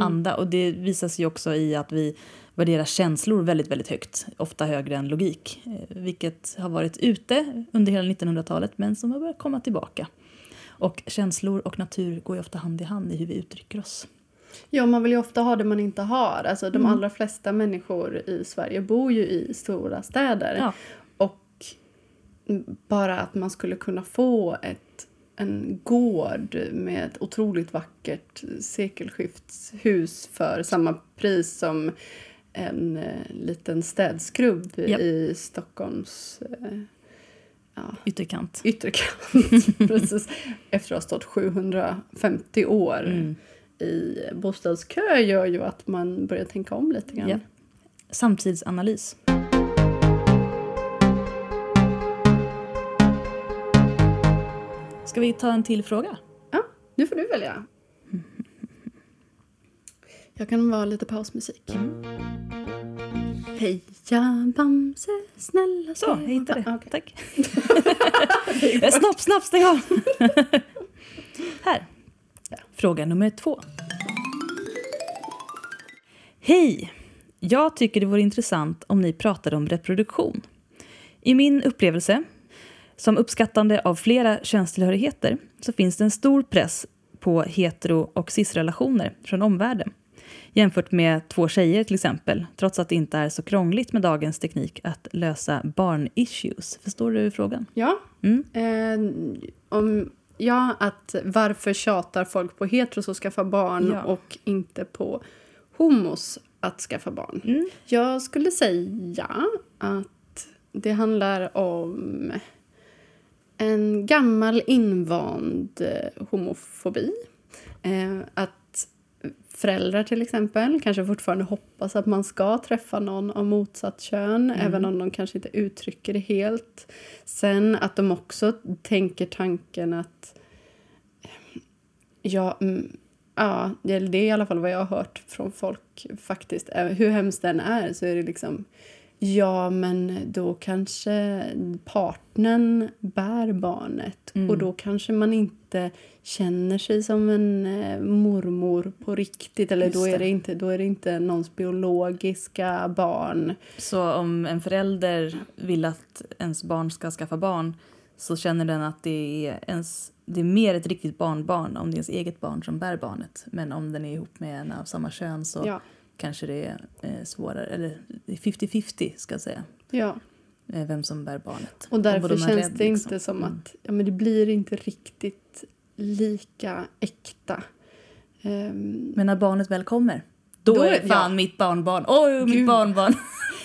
A: anda och det visar sig ju också i att vi värderar känslor väldigt, väldigt högt, ofta högre än logik, eh, vilket har varit ute under hela 1900-talet men som har börjat komma tillbaka. Och känslor och natur går ju ofta hand i hand i hur vi uttrycker oss.
B: Ja, man vill ju ofta ha det man inte har. Alltså, de allra flesta människor i Sverige bor ju i stora städer.
A: Ja.
B: Och bara att man skulle kunna få ett, en gård med ett otroligt vackert sekelskiftshus för samma pris som en eh, liten städskrubb
A: Japp.
B: i Stockholms eh, ja,
A: Ytterkant. (laughs)
B: ytterkant. Precis. Efter att ha stått 750 år
A: Mm.
B: i bostadskö gör ju att man börjar tänka om lite grann.
A: Ja. Samtidsanalys. Ska vi ta en till fråga?
B: Ja, nu får du
A: (laughs)
B: välja. Jag kan vara lite pausmusik. Heja Bamse, snälla
A: Så, jag hittade det.
B: Ah, okej. (laughs)
A: Tack. Eh, Snabb, snabb, stäng av! (laughs) Här. Fråga nummer två. Hej! Jag tycker det vore intressant om ni pratade om reproduktion. I min upplevelse, som uppskattande av flera könstillhörigheter, så finns det en stor press på hetero och cis-relationer från omvärlden. Jämfört med två tjejer till exempel, trots att det inte är så krångligt med dagens teknik att lösa barn-issues. Förstår du frågan?
B: Ja.
A: Mm.
B: Eh, om, ja, att varför tjatar folk på heteros att skaffa barn
A: Ja.
B: och inte på homos att skaffa barn?
A: Mm.
B: Jag skulle säga att det handlar om en gammal invand eh, homofobi. Eh, att föräldrar till exempel kanske fortfarande hoppas att man ska träffa någon av motsatt kön
A: Mm.
B: även om de kanske inte uttrycker det helt. Sen att de också tänker tanken att... Ja, mm, ja det, det är i alla fall vad jag har hört från folk. faktiskt. Eh, Hur hemskt den är så är det liksom... Ja, men då kanske partnern bär barnet
A: Mm.
B: och då kanske man inte känner sig som en eh, mormor på riktigt. Eller
A: Just
B: då är
A: det.
B: det. inte, då är det inte någons biologiska barn.
A: Så om en förälder vill att ens barn ska skaffa barn så känner den att det är, ens, det är mer ett riktigt barnbarn om det är ens eget barn som bär barnet. Men om den är ihop med en av samma kön så
B: Ja,
A: kanske det är eh, svårare, eller det är 50-50 ska jag säga,
B: ja.
A: eh, vem som bär barnet.
B: Och därför
A: båda är
B: känns
A: rädd,
B: det
A: liksom.
B: inte som
A: Mm.
B: att ja, men det blir inte riktigt lika äkta. Ehm,
A: Men när barnet väl kommer, då,
B: Då
A: är
B: är-
A: det fan
B: ja.
A: mitt barnbarn. Oj, mitt
B: Gud.
A: barnbarn!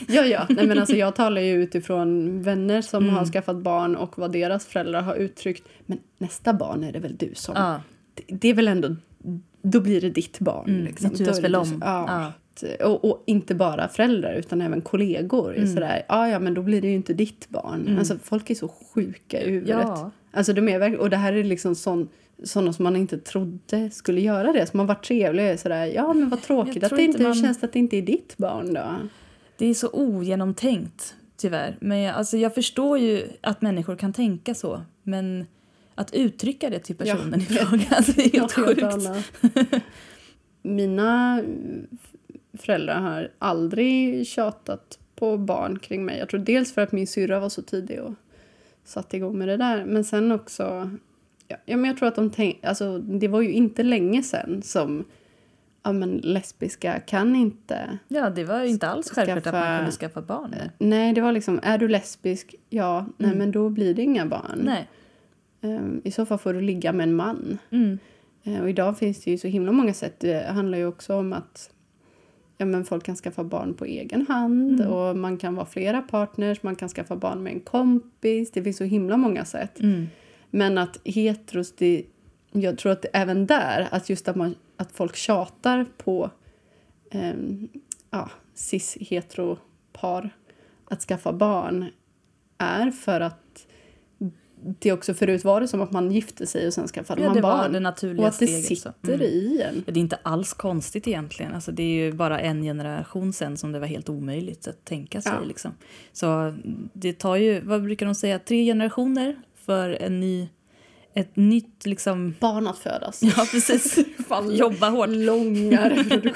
B: Ja, ja. Nej, men alltså, jag talar ju utifrån vänner som
A: Mm.
B: har skaffat barn och vad deras föräldrar har uttryckt. Men nästa barn är det väl du som...
A: ja.
B: Det, det är väl ändå... Då blir det ditt barn.
A: Mm,
B: liksom.
A: det turas
B: Då är
A: väl
B: du
A: om.
B: som- Ja. Och, och inte bara föräldrar, utan även kollegor.
A: Mm.
B: är Sådär, ja, ja, men då blir det ju inte ditt barn. Alltså, folk är så sjuka i huvudet.
A: Ja.
B: Alltså, de är verk- och det här är liksom sån, sådana som man inte trodde skulle göra det. Som har varit trevliga. och är Sådär, ja, men vad tråkigt
A: tror
B: att det
A: inte
B: inte
A: man-
B: känns att det inte är ditt barn. Då.
A: (laughs) Det är så ogenomtänkt, tyvärr. Men jag, alltså, jag förstår ju att människor kan tänka så, men att uttrycka det till
B: Ja.
A: personen i fråga, (laughs) alltså, det är helt
B: Något
A: sjukt.
B: annat. Mina eh, föräldrar har aldrig tjatat på barn kring mig. Jag tror dels för att min syrra var så tidig och satte igång med det där. Men sen också... Ja, ja, men jag tror att de tänk, alltså, Det var ju inte länge sen som ja, men lesbiska kan inte...
A: Ja, det var ju inte alls självklart att man
B: Skaffa-
A: kunde skaffa barn.
B: Nej, det var liksom... Är du lesbisk? Ja. Nej, men då blir det inga barn.
A: Mm. Nej.
B: Ehm, I så fall får du ligga med en man.
A: Mm.
B: Eh, Och idag finns det ju så himla många sätt. Det handlar ju också om att ja, men folk kan skaffa barn på egen hand
A: Mm.
B: och man kan vara flera partners, man kan skaffa barn med en kompis. Det finns så himla många sätt.
A: Mm.
B: Men att heteros, det, jag tror att det, även där, att just att, man, att folk tjatar på ehm, ja, cis-hetero-par att skaffa barn är för att det också förut var det som att man gifte sig och sen skaffade
A: Ja,
B: man
A: det
B: barn.
A: var det naturliga
B: Och att det
A: steget, så.
B: sitter i en.
A: Ja, Det är inte alls konstigt egentligen. Alltså, det är ju bara en generation sen som det var helt omöjligt att tänka sig.
B: Ja.
A: Liksom. Så det tar ju, vad brukar de säga, tre generationer för en ny, ett nytt liksom...
B: Barn att
A: (laughs)
B: födas.
A: Ja, precis.
B: Fan,
A: (laughs) Jobba hårt. (laughs)
B: (laughs) Långa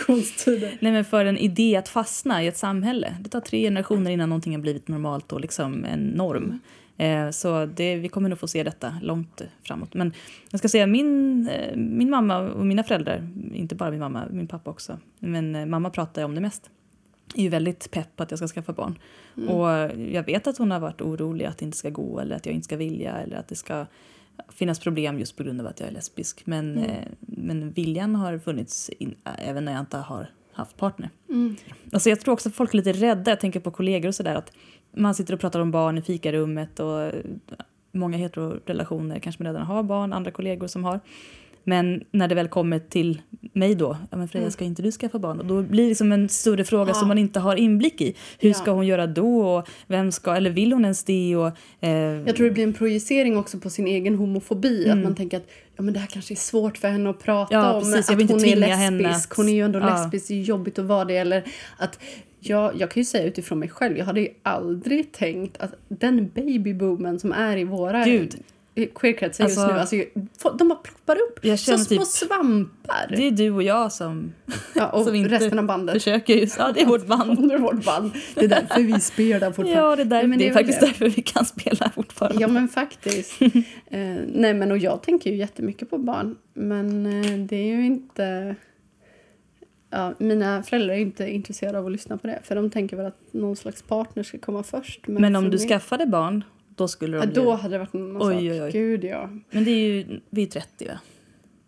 B: reproduktionstider.
A: Nej, men för en idé att fastna i ett samhälle. Det tar tre generationer innan någonting har blivit normalt och liksom en norm. Eh, så det, vi kommer nog få se detta långt framåt. Men jag ska säga min, eh, min mamma och mina föräldrar, inte bara min mamma, min pappa också, men eh, mamma pratar ju om det mest är ju väldigt pepp på att jag ska skaffa barn. Och jag vet att hon har varit orolig att det inte ska gå eller att jag inte ska vilja eller att det ska finnas problem just på grund av att jag är lesbisk. Men, eh, men viljan har funnits in, även när jag inte har haft partner.
B: Mm.
A: Alltså jag tror också att folk är lite rädda, jag tänker på kollegor och sådär, att man sitter och pratar om barn i fikarummet och eh, många heterorelationer kanske man redan har barn, andra kollegor som har. Men när det väl kommer till mig då, ja men
B: Mm.
A: Freja ska inte du skaffa barn? Och då blir det liksom en större fråga som man inte har inblick i. Hur
B: Ja.
A: ska hon göra då? Och vem ska, eller vill hon ens det? Och, eh,
B: Jag tror det blir en projicering också på sin egen homofobi. Att man tänker att ja, men det här kanske är svårt för henne att prata
A: Mm. Ja,
B: om.
A: precis. Jag
B: att
A: vill inte
B: hon är
A: tvinga
B: lesbisk.
A: henne att-
B: Hon är ju ändå
A: Ja.
B: lesbisk. Det är jobbigt att vara det. Eller att, ja, jag kan ju säga utifrån mig själv. Jag hade ju aldrig tänkt att den babyboomen som är i våra
A: Gud.
B: i queerkretsar just
A: Alltså-
B: nu. Alltså, folk- de bara ploppar upp
A: Jag
B: som
A: känner
B: små
A: typ-
B: svampar.
A: det är du och jag som
B: ja, och
A: som inte
B: resten av bandet.
A: försöker just, ja det är vårt band.
B: Under vårt band. Det är därför vi spelar fortfarande.
A: Ja, det är, där,
B: Nej, men
A: det är
B: väl
A: faktiskt därför vi kan spela fortfarande.
B: Ja, men faktiskt. eh, nej, men och jag tänker ju jättemycket på barn. Men eh, det är ju inte... Ja, mina föräldrar är inte intresserade av att lyssna på det. För de tänker väl att någon slags partner ska komma först.
A: Men
B: för
A: om du
B: mig-
A: skaffade barn, då skulle de
B: Ja,
A: ju...
B: då hade det varit en annan
A: Oj,
B: sak.
A: oj, oj.
B: Gud, ja.
A: Men det är ju, vi är 30 va?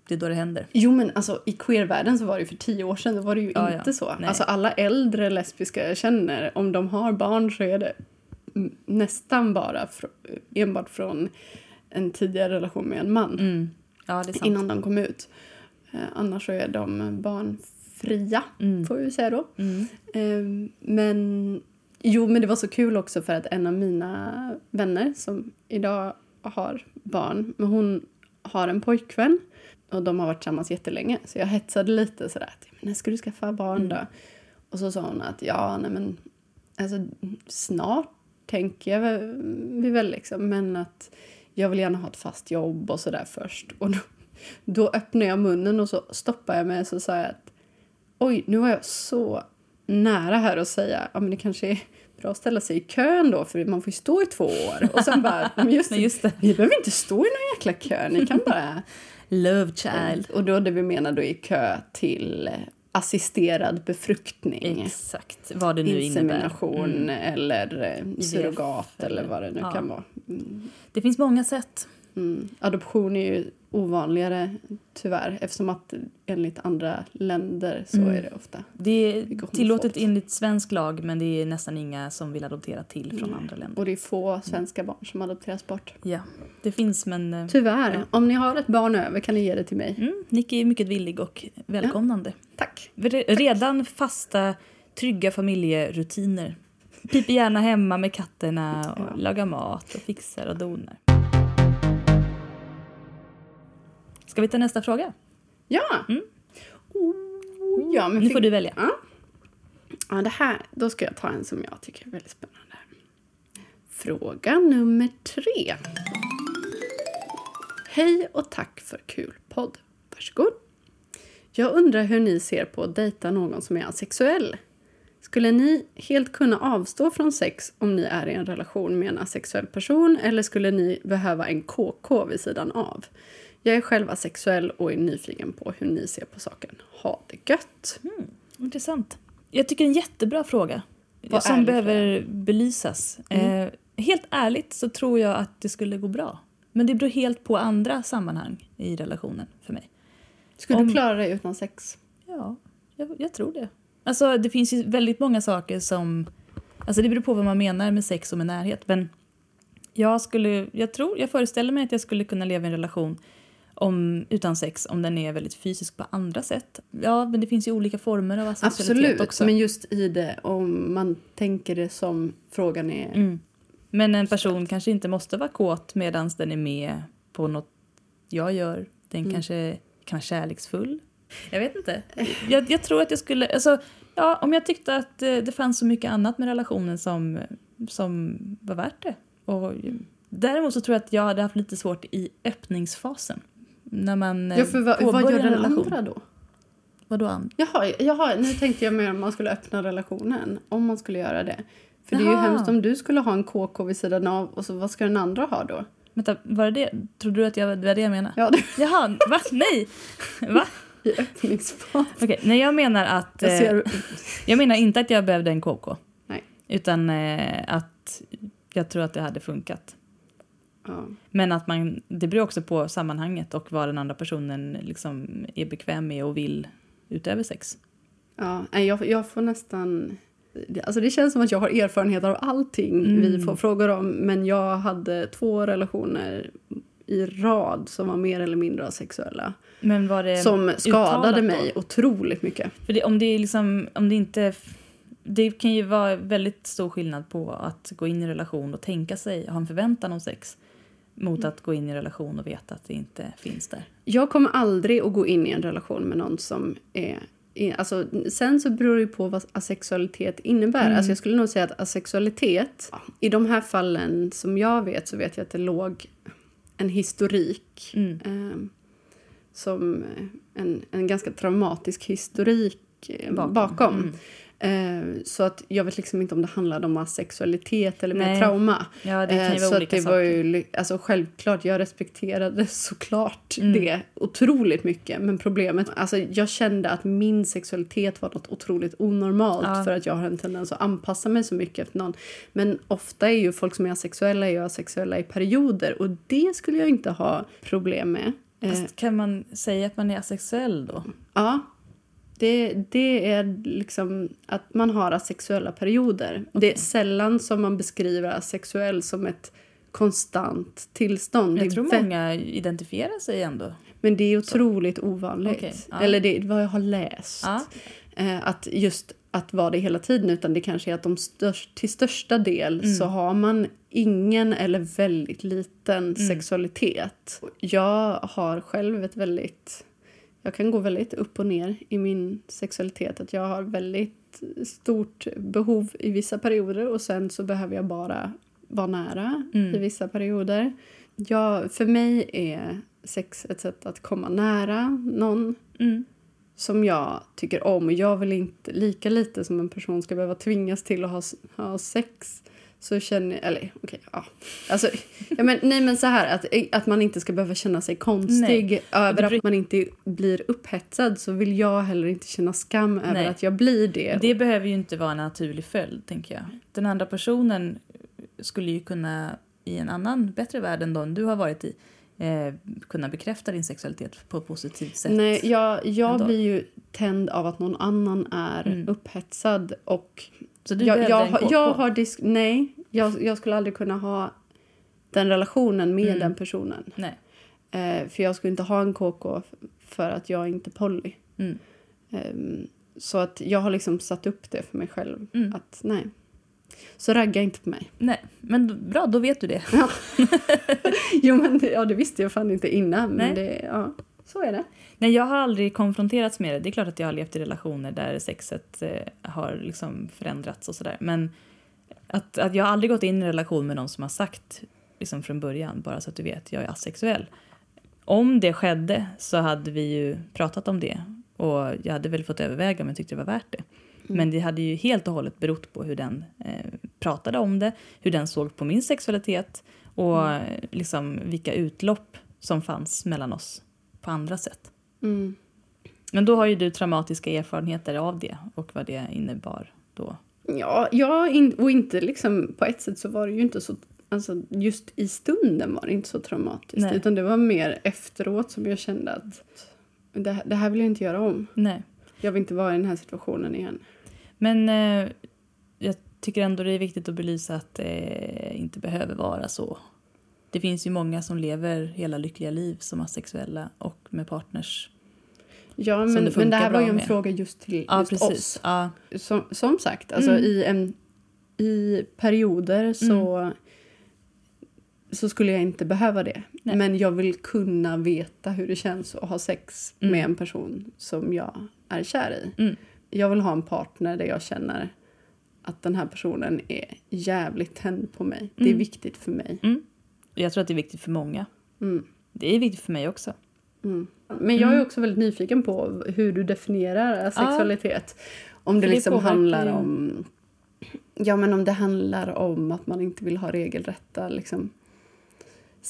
A: Det är då det händer.
B: Jo, men alltså i queervärlden så var det ju för tio år sedan. Då var det ju
A: Ja, ja.
B: inte så.
A: Nej.
B: Alltså alla äldre lesbiska jag känner, om de har barn så är det mm, nästan bara fr- enbart från en tidigare relation med en man.
A: Mm. Ja, det är sant.
B: innan de kom ut. Eh, annars så är de barnfria,
A: Mm.
B: får vi säga då.
A: Mm.
B: Eh, men, jo, men det var så kul också för att en av mina vänner som idag har barn, men hon har en pojkvän och de har varit tillsammans jättelänge. Så jag hetsade lite sådär att, "Men när ska du skaffa barn då? Och så sa hon att ja, nej men alltså, snart tänker jag väl- vi väl liksom, men att jag vill gärna ha ett fast jobb och sådär först. Och då, då öppnar jag munnen och så stoppar jag mig och så säger jag att oj, nu var jag så nära här att säga, ja men det kanske är bra att ställa sig i kön då för man får ju stå i två år. Och sen bara,
A: (laughs)
B: men just,
A: Nej, just det.
B: vi behöver inte stå i någon jäkla kö, ni kan
A: (laughs)
B: bara
A: Love child.
B: och då det vi menar då i kö till eh, assisterad befruktning.
A: Exakt, vad det nu innebär. Mm.
B: Insemination eller eh, surrogat
A: eller-
B: eller vad det nu
A: ja.
B: kan vara.
A: Det finns många sätt.
B: Mm. Adoption är ju ovanligare tyvärr eftersom att enligt andra länder så
A: Mm.
B: är det ofta.
A: Det är
B: Vilka
A: tillåtet
B: homofobt.
A: enligt svensk lag men det är nästan inga som vill adoptera till från andra länder.
B: Och det är få svenska barn som adopteras bort.
A: Ja, det finns men eh,
B: Tyvärr. Om ni har ett barn över kan ni ge det till mig.
A: mm, Nicky är mycket villig och välkomnande.
B: Tack.
A: Re- Redan fasta, trygga familjerutiner. Piper gärna hemma med katterna och
B: Ja.
A: lagar mat och fixar och donar. Ska vi ta nästa fråga?
B: Ja! Oh, ja men
A: Mm. Nu
B: fick-
A: får du välja.
B: Ja. ja, det här. Då ska jag ta en som jag tycker är väldigt spännande. Fråga nummer tre. Hej och tack för kul podd. Varsågod. Jag undrar hur ni ser på att dejta någon som är asexuell. Skulle ni helt kunna avstå från sex om ni är i en relation med en asexuell person eller skulle ni behöva en KK vid sidan av? Jag är själv asexuell och är nyfiken på hur ni ser på saken. Ha det gött!
A: Intressant. Jag tycker det är en jättebra fråga eh,
B: Vad Mm. är
A: som
B: det
A: behöver belysas. Eh, helt ärligt så tror jag att det skulle gå bra. Men det beror helt på andra sammanhang i relationen för mig.
B: Skulle
A: Om-
B: du klara dig utan sex?
A: Ja, jag, jag tror det. Alltså det finns ju väldigt många saker som... Alltså det beror på vad man menar med sex och med närhet. Men jag skulle... Jag tror, jag föreställer mig att jag skulle kunna leva i en relation om, utan sex om den är väldigt fysisk på andra sätt. Ja, men det finns ju olika former av asexualitet
B: Absolut,
A: också.
B: men just i det om man tänker det som frågan är.
A: Mm. Men en person kanske inte måste vara kåt medan den är med på något jag gör. Den
B: Mm.
A: kanske kan vara kärleksfull. Jag vet inte. (laughs) Jag, jag tror att jag skulle... Alltså, ja, om jag tyckte att eh, det fanns så mycket annat med relationen som, som var värt det. Och, däremot så tror jag att jag hade haft lite svårt i öppningsfasen. När man eh,
B: Ja, för vad, vad
A: påbörjar
B: gör
A: en
B: den
A: relation.
B: andra då?
A: Vadå an-
B: Jaha, jaha, nu tänkte jag mer om man skulle öppna relationen. Om man skulle göra det. För det är ju
A: Jaha.
B: hemskt om du skulle ha en KK vid sidan av och så vad ska den andra ha då?
A: Vänta, var det det? Trodde du att jag, det var det jag menade?
B: Ja, det
A: Jaha, va? Nej! Va?
B: är öppningsfas.
A: Okej, nej jag menar att...
B: Jag
A: eh,
B: ser,
A: Jag menar inte att jag behövde en KK.
B: Nej.
A: Utan eh, att jag tror att det hade funkat.
B: ja.
A: Men att man, det beror också på sammanhanget och vad den andra personen liksom är bekväm med och vill utöver sex.
B: Ja, nej, jag, jag får nästan... Alltså det känns som att jag har erfarenhet av allting vi får frågor om. Men jag hade två relationer i rad som var mer eller mindre asexuella.
A: Men var det
B: Som
A: Ehm, uttalat
B: skadade
A: då?
B: mig otroligt mycket.
A: För det, om det är liksom, om det inte... Det kan ju vara väldigt stor skillnad på att gå in i en relation och tänka sig, ha en förväntan om sex mot
B: Mm.
A: att gå in i en relation och veta att det inte finns där.
B: Jag kommer aldrig att gå in i en relation med någon som är... är alltså, sen så beror det ju på vad asexualitet innebär.
A: Mm.
B: Alltså jag skulle nog säga att asexualitet... I de här fallen som jag vet så vet jag att det låg en historik.
A: Mm.
B: Eh, som eh, en, en ganska traumatisk historik eh,
A: Bakom. Mm.
B: bakom. Eh, så att jag vet liksom inte om det handlade om asexualitet eller mer
A: Nej.
B: trauma.
A: Ja, det kan ju
B: Eh,
A: vara
B: så att
A: olika
B: det var ju, ly- alltså självklart, jag respekterade (laughs) såklart
A: Mm.
B: det otroligt mycket. Men problemet, alltså jag kände att min sexualitet var något otroligt onormalt
A: Ja.
B: för att jag har en tendens att anpassa mig så mycket efter någon. Men ofta är ju folk som är asexuella är ju asexuella i perioder och det skulle jag inte ha problem med. Eh,
A: Fast kan man säga att man är asexuell då?
B: Ja. Det, det är liksom att man har asexuella perioder. Det är sällan som man beskriver asexuell som ett konstant tillstånd.
A: Jag
B: det är
A: tror
B: vä-
A: många identifierar sig ändå.
B: Men det är otroligt ovanligt.
A: Okej, ja.
B: Eller det är vad jag har läst.
A: Ja.
B: Eh, att just att vara det hela tiden utan det kanske är att de störst, till största del
A: Mm.
B: så har man ingen eller
A: Mm.
B: väldigt liten sexualitet. Jag har själv ett väldigt Jag kan gå väldigt upp och ner i min sexualitet. Att Jag har väldigt stort behov i vissa perioder och sen så behöver jag bara vara nära
A: Mm.
B: i vissa perioder. Jag, för mig är sex ett sätt att komma nära någon
A: Mm.
B: som jag tycker om. Och jag vill inte, lika lite som en person ska behöva tvingas till att ha, s- ha sex så känner jag, eller okej, ja. Alltså, ja men, nej men så här, att, att man inte ska behöva känna sig konstig över
A: Och det
B: att man inte blir upphetsad så vill jag heller inte känna skam över
A: Nej.
B: att jag blir det.
A: Det behöver ju inte vara en naturlig följd, tänker jag. Den andra personen skulle ju kunna, i en annan, bättre värld än den du har varit i, eh, kunna bekräfta din sexualitet på ett positivt sätt.
B: Nej, jag, jag
A: ändå.
B: blir ju tänd av att någon annan är
A: Mm.
B: upphetsad och
A: Så du
B: jag,
A: behövde
B: jag,
A: en
B: har-
A: KK.
B: jag har disk... Nej, jag, jag skulle aldrig kunna ha den relationen med
A: Mm.
B: den personen.
A: Nej.
B: Eh, för jag skulle inte ha en KK f- för att jag är inte poly.
A: Mm.
B: Ehm, så att jag har liksom satt upp det för mig själv.
A: Mm.
B: Att nej. Så ragga inte på mig. (laughs)
A: Nej, men d- bra, då vet du det.
B: jo men det, ja, det visste jag fan inte innan. Men
A: Nej.
B: det, ja, så är det.
A: Nej, jag har aldrig konfronterats med det. Det är klart att jag har levt i relationer där sexet eh, har liksom förändrats och sådär. Men att, att jag har aldrig gått in i en relation med någon som har sagt liksom från början, bara så att du vet, jag är asexuell. Om det skedde så hade vi ju pratat om det och jag hade väl fått överväga om jag tyckte det var värt det. Men det hade ju helt och hållet berott på hur den eh, pratade om det, hur den såg på min sexualitet och eh, liksom vilka utlopp som fanns mellan oss på andra sätt.
B: Mm.
A: Men då har ju du traumatiska erfarenheter av det och vad det innebar då.
B: Ja, jag in, och inte liksom, på ett sätt så var det ju inte så... Alltså, just i stunden var det inte så traumatiskt.
A: Nej.
B: Utan det var mer efteråt som jag kände att det, här- det här vill jag inte göra om.
A: Nej.
B: Jag vill inte vara i den här situationen igen.
A: Men eh, jag tycker ändå det är viktigt att belysa att det inte behöver vara så. Det finns ju många som lever hela lyckliga liv som asexuella och med partners.
B: Ja,
A: Som
B: men,
A: det
B: men det
A: funkar
B: här var
A: bra
B: ju en
A: med.
B: fråga just till
A: Ja,
B: just
A: precis.
B: oss.
A: Ja,
B: Som, som sagt, alltså
A: Mm.
B: i, en, i perioder så, så skulle jag inte behöva det.
A: Nej.
B: Men jag vill kunna veta hur det känns att ha sex
A: Mm.
B: med en person som jag är kär i.
A: Mm.
B: Jag vill ha en partner där jag känner att den här personen är jävligt tänd på mig. Det är
A: Mm.
B: viktigt för mig.
A: jag tror att det är viktigt för många.
B: Mm.
A: Det är viktigt för mig också.
B: Mm. Men jag är också väldigt nyfiken på hur du definierar sexualitet. Om det
A: För det
B: liksom
A: påverkar
B: handlar
A: ju.
B: om... Ja, men om det handlar om att man inte vill ha regelrätta liksom,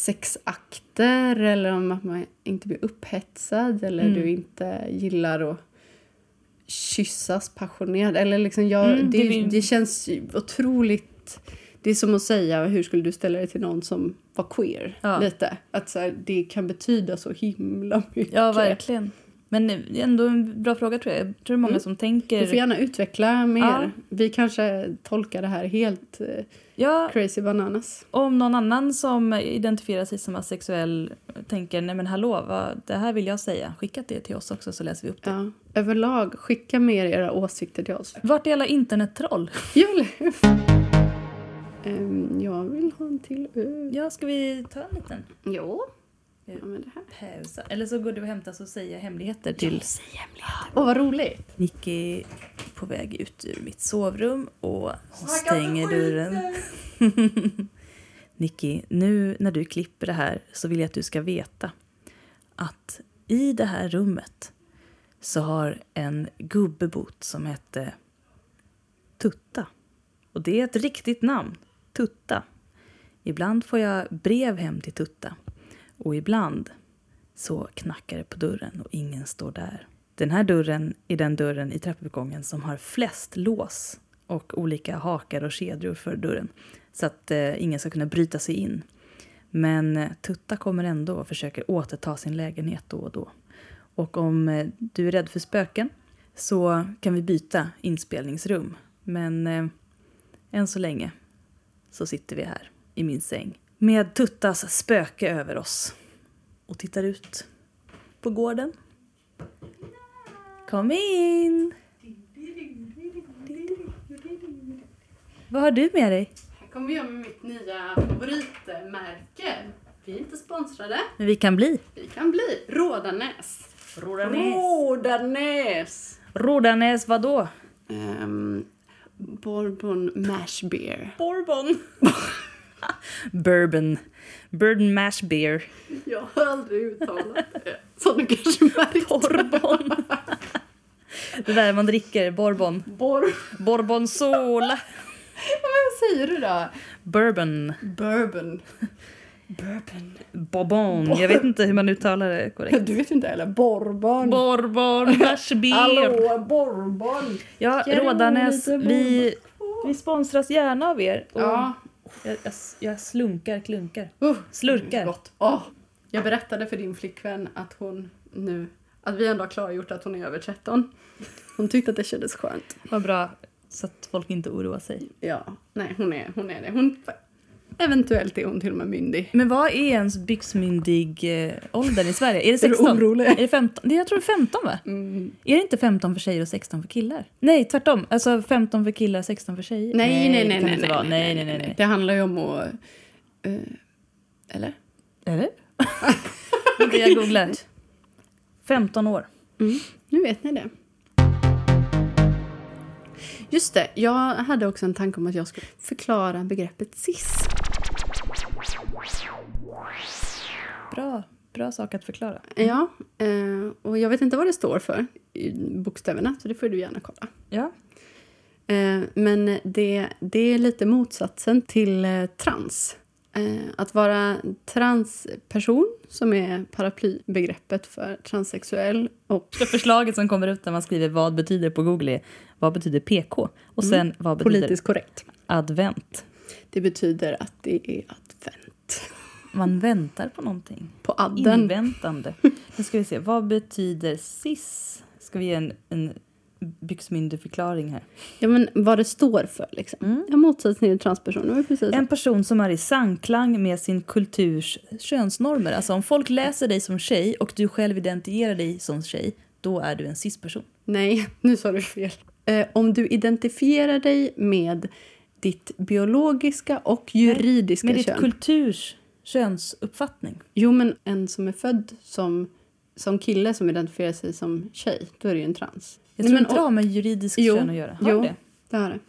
B: sexakter eller om att man inte blir upphetsad eller
A: Mm.
B: du inte gillar att kyssas passionerat. Eller liksom jag,
A: Mm,
B: det,
A: det
B: det,
A: vill-
B: känns ju otroligt... Det är som att säga hur skulle du ställa dig till någon som var queer.
A: Ja.
B: lite. Att så här, det kan betyda så himla mycket.
A: Ja, verkligen. Men det är ändå en bra fråga tror jag. Jag tror det är många
B: Mm.
A: som
B: Du
A: tänker...
B: får gärna utveckla mer.
A: Ja.
B: Vi kanske tolkar det här helt eh,
A: Ja,
B: crazy bananas.
A: om någon annan som identifierar sig som asexuell tänker nej men hallå, vad, det här vill jag säga, skicka det till oss också så läser vi upp det.
B: Ja. Överlag, skicka mer era åsikter till oss.
A: Vart är alla internettroll?
B: Ja, eller hur? Ehm, jag vill ha en till öl.
A: Ja, ska vi ta en liten
B: Ja. men det här.
A: paus? Eller så går du och hämtar så säger jag hemligheter till...
B: Åh, vad roligt!
A: Nicky är på väg ut ur mitt sovrum och hon stänger dörren. (laughs) Nicky, nu när du klipper det här så vill jag att du ska veta att i det här rummet så har en gubbe bott som hette Tutta. Och det är ett riktigt namn, Tutta. Ibland får jag brev hem till Tutta och ibland så knackar det på dörren och ingen står där. Den här dörren är den dörren i trappuppgången som har flest lås och olika hakar och kedjor för dörren så att eh, ingen ska kunna bryta sig in. Men eh, Tutta kommer ändå och försöker återta sin lägenhet då och då. Och om eh, du är rädd för spöken så kan vi byta inspelningsrum. Men eh, än så länge så sitter vi här i min säng med Tuttas spöke över oss och tittar ut på gården. Kom in! Vad har du med dig?
B: Här kommer jag med mitt nya favoritmärke. Vi är inte sponsrade.
A: Men vi kan bli.
B: Vi kan bli Rådanäs.
A: Rodanäs.
B: Rodanäs!
A: Rodanäs vadå?
B: Um, bourbon mash beer.
A: Bourbon. (laughs) Bourbon. Bourbon mash beer.
B: Jag har aldrig uttalat det. Som du kanske märkte.
A: Bourbon. Det där man dricker, bourbon.
B: Bor-
A: Bourbon sola.
B: Vad säger du då?
A: Bourbon.
B: Bourbon. Bourbon.
A: Bourbon. Jag vet inte hur man uttalar det korrekt.
B: Du vet inte heller.
A: (laughs)
B: Bourbon.
A: Bourbon mash beer.
B: bourbon!
A: Ja,
B: Ge dem
A: Rådanäs,
B: lite
A: vi, Oh. vi sponsras gärna av er. Och
B: Ja.
A: jag, jag, jag slunkar, klunkar.
B: Uh,
A: Slurkar.
B: Gott. Åh. Jag berättade för din flickvän att hon nu... Att vi ändå har klargjort att hon är över 13. Hon tyckte att det kändes skönt.
A: Vad bra, så att folk inte oroar sig.
B: Ja. Nej, hon är, hon är det. Hon, eventuellt är hon till och med myndig.
A: Men vad är ens byxmyndig eh, ålder i Sverige? (laughs) Är det 16?
B: orolig?
A: Är det 15? Det- Jag tror det är 15 va?
B: Mm.
A: Är det inte 15 för tjejer och 16 för killar? Nej, tvärtom. Alltså 15 för killar, 16 för tjejer.
B: Nej, nej,
A: det
B: nej.
A: kan det
B: Nej,
A: inte vara. nej, nej, nej, nej.
B: Det handlar ju om att... eh, eller?
A: (laughs) Eller? Okej, jag googlar. 15 år.
B: Nu vet ni det. Just det, jag hade också en tanke om att jag skulle förklara begreppet cis.
A: Bra, bra sak att förklara.
B: Ja, eh, och jag vet inte vad det står för i bokstäverna, så det får du gärna kolla.
A: Ja.
B: Eh, Men det, det är lite motsatsen till eh, trans. Eh, Att vara transperson, som är paraplybegreppet för transsexuell och
A: Det förslaget som kommer ut när man skriver vad betyder på Google är vad betyder PK? Och sen vad betyder
B: politiskt korrekt,
A: advent?
B: det betyder att det är advent.
A: Man väntar på någonting.
B: På adden.
A: Inväntande. Nu ska vi se, vad betyder cis? Ska vi ge en, en byxmyndig förklaring här?
B: Ja, men vad det står för. Liksom.
A: Mm.
B: Ja, motsatsen till transperson. Det var ju precis
A: En person som är i samklang med sin kulturs könsnormer. Alltså om folk läser dig som tjej och du själv identifierar dig som tjej, då är du en cis-person.
B: Nej, (laughs) nu sa du fel. Eh, om du identifierar dig med ditt biologiska och juridiska
A: Med ditt
B: kön.
A: kulturs könsuppfattning.
B: jo, men en som är född som, som kille som identifierar sig som tjej, då är det ju en trans.
A: Jag tror
B: men,
A: inte det har med juridiskt
B: Jo,
A: kön att göra. Har
B: jo.
A: det?
B: det har det.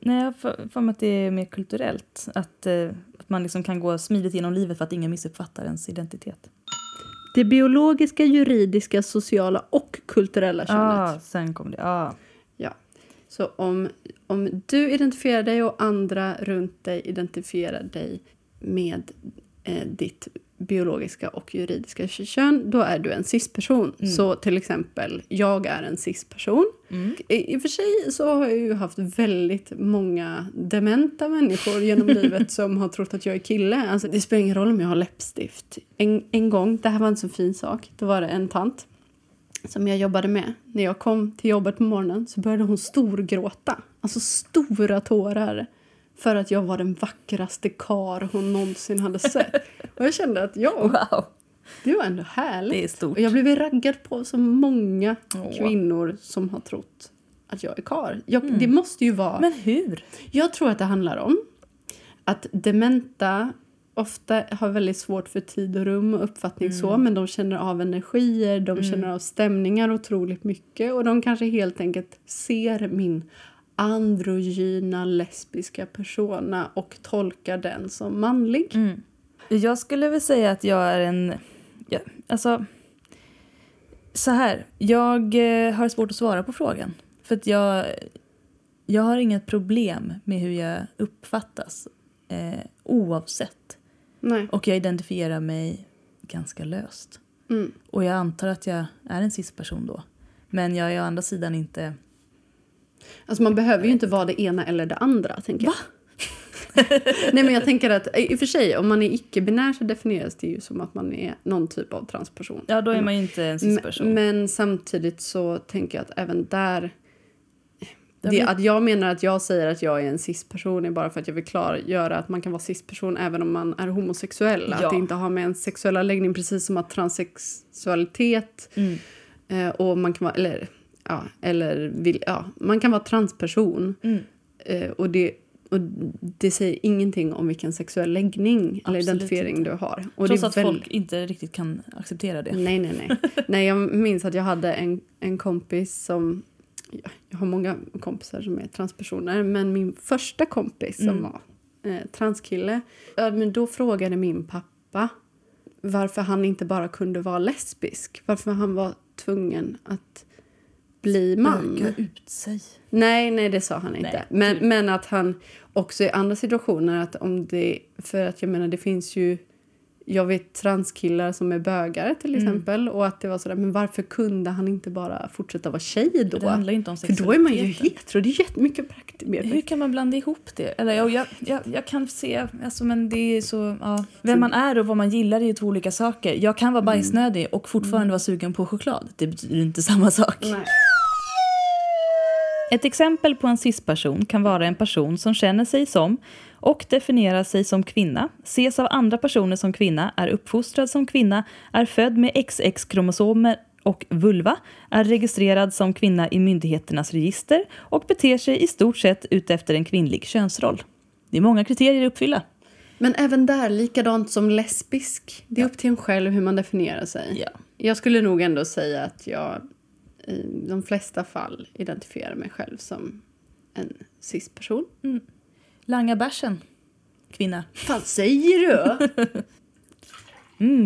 A: Nej, jag har för för mig att det är mer kulturellt. Att, eh, att man liksom kan gå smidigt genom livet för att ingen missuppfattar ens identitet.
B: Det biologiska, juridiska, sociala och kulturella
A: Ja,
B: könet.
A: sen kom det. Ah.
B: Ja. Så om, om du identifierar dig och andra runt dig identifierar dig med eh, ditt biologiska och juridiska kön, då är du en cis-person. Så till exempel, jag är en cis-person.
A: Mm.
B: I, I och för sig så har jag ju haft väldigt många dementa människor genom livet som har trott att jag är kille. Alltså, det spelar ingen roll om jag har läppstift. En, en gång, det här var en så fin sak, då var det en tant som jag jobbade med. När jag kom till jobbet på morgonen så började hon storgråta. Alltså stora tårar. För att jag var den vackraste kar hon någonsin hade sett. Och jag kände att ja,
A: Wow,
B: det var ändå härligt.
A: det är stort.
B: Och jag blev raggad på så många
A: Åh. Mm.
B: kvinnor som har trott att jag är kar. Jag, Det måste ju vara...
A: Men hur?
B: Jag tror att det handlar om att dementa ofta har väldigt svårt för tid och rum och uppfattning
A: Mm.
B: så men de känner av energier, de känner av stämningar otroligt mycket och de kanske helt enkelt ser min androgyna lesbiska persona och tolkar den som manlig.
A: Mm. Jag skulle väl säga att jag är en... Ja, alltså... Så här, jag eh, har svårt att svara på frågan. För att jag, jag har inget problem med hur jag uppfattas eh, oavsett.
B: Nej.
A: Och jag identifierar mig ganska löst.
B: Mm.
A: Och jag antar att jag är en cis-person då. Men jag är å andra sidan inte...
B: Alltså man behöver ju inte vara det ena eller det andra. Tänker Va? (laughs) Nej men jag tänker att i och för sig om man är icke-binär så definieras det ju som att man är någon typ av transperson.
A: Ja, då är man ju inte en cis-person.
B: Men, men samtidigt så tänker jag att även där...
A: Ja,
B: Det,
A: men-
B: att jag menar att jag säger att jag är en cis-person är bara för att jag vill klargöra att man kan vara cis-person även om man är homosexuell.
A: Ja.
B: Att det inte har med ens sexuella läggning, precis som att transsexualitet
A: Mm.
B: eh, och man kan vara... Eller, ja, eller vill, ja, man kan vara transperson.
A: Mm.
B: Eh, och det Och det säger ingenting om vilken sexuell läggning eller
A: Absolut
B: identifiering du har. Och
A: Trots
B: det är
A: att
B: väl-
A: folk inte riktigt kan acceptera det.
B: Nej, nej, nej. nej jag minns att jag hade en, en kompis som... Jag har många kompisar som är transpersoner, men min första kompis som
A: Mm.
B: var eh, transkille... Ja, men då frågade min pappa varför han inte bara kunde vara lesbisk. Varför han var tvungen att bli man.
A: Öka ut sig.
B: Nej, nej, det sa han inte.
A: Nej.
B: Men, men att han också i andra situationer... att om det, För att jag menar, det finns ju... Jag vet transkillar som är bögar till
A: Mm.
B: exempel. Och att det var sådär, men varför kunde han inte bara fortsätta vara tjej då?
A: Det handlar ju inte om
B: För då är man ju
A: sexualiteten.
B: hetero. Det är jättemycket praktiskt.
A: Hur kan man blanda ihop det? Eller, jag, jag, jag, jag kan se, alltså, men det är så... Ja. Vem man är och vad man gillar är ju två olika saker. Jag kan vara bajsnödig och fortfarande vara sugen på choklad. Det betyder inte samma sak.
B: Nej.
A: Ett exempel på en cis-person kan vara en person som känner sig som och definierar sig som kvinna, ses av andra personer som kvinna, är uppfostrad som kvinna, är född med XX-kromosomer och vulva, är registrerad som kvinna i myndigheternas register och beter sig i stort sett utefter en kvinnlig könsroll. Det är många kriterier att uppfylla.
B: Men även där, likadant som lesbisk. Det är upp till en själv hur man definierar sig.
A: Ja.
B: Jag skulle nog ändå säga att jag i de flesta fall identifierar mig själv som en cis-person.
A: Langa bärsen, kvinna.
B: fan säger du?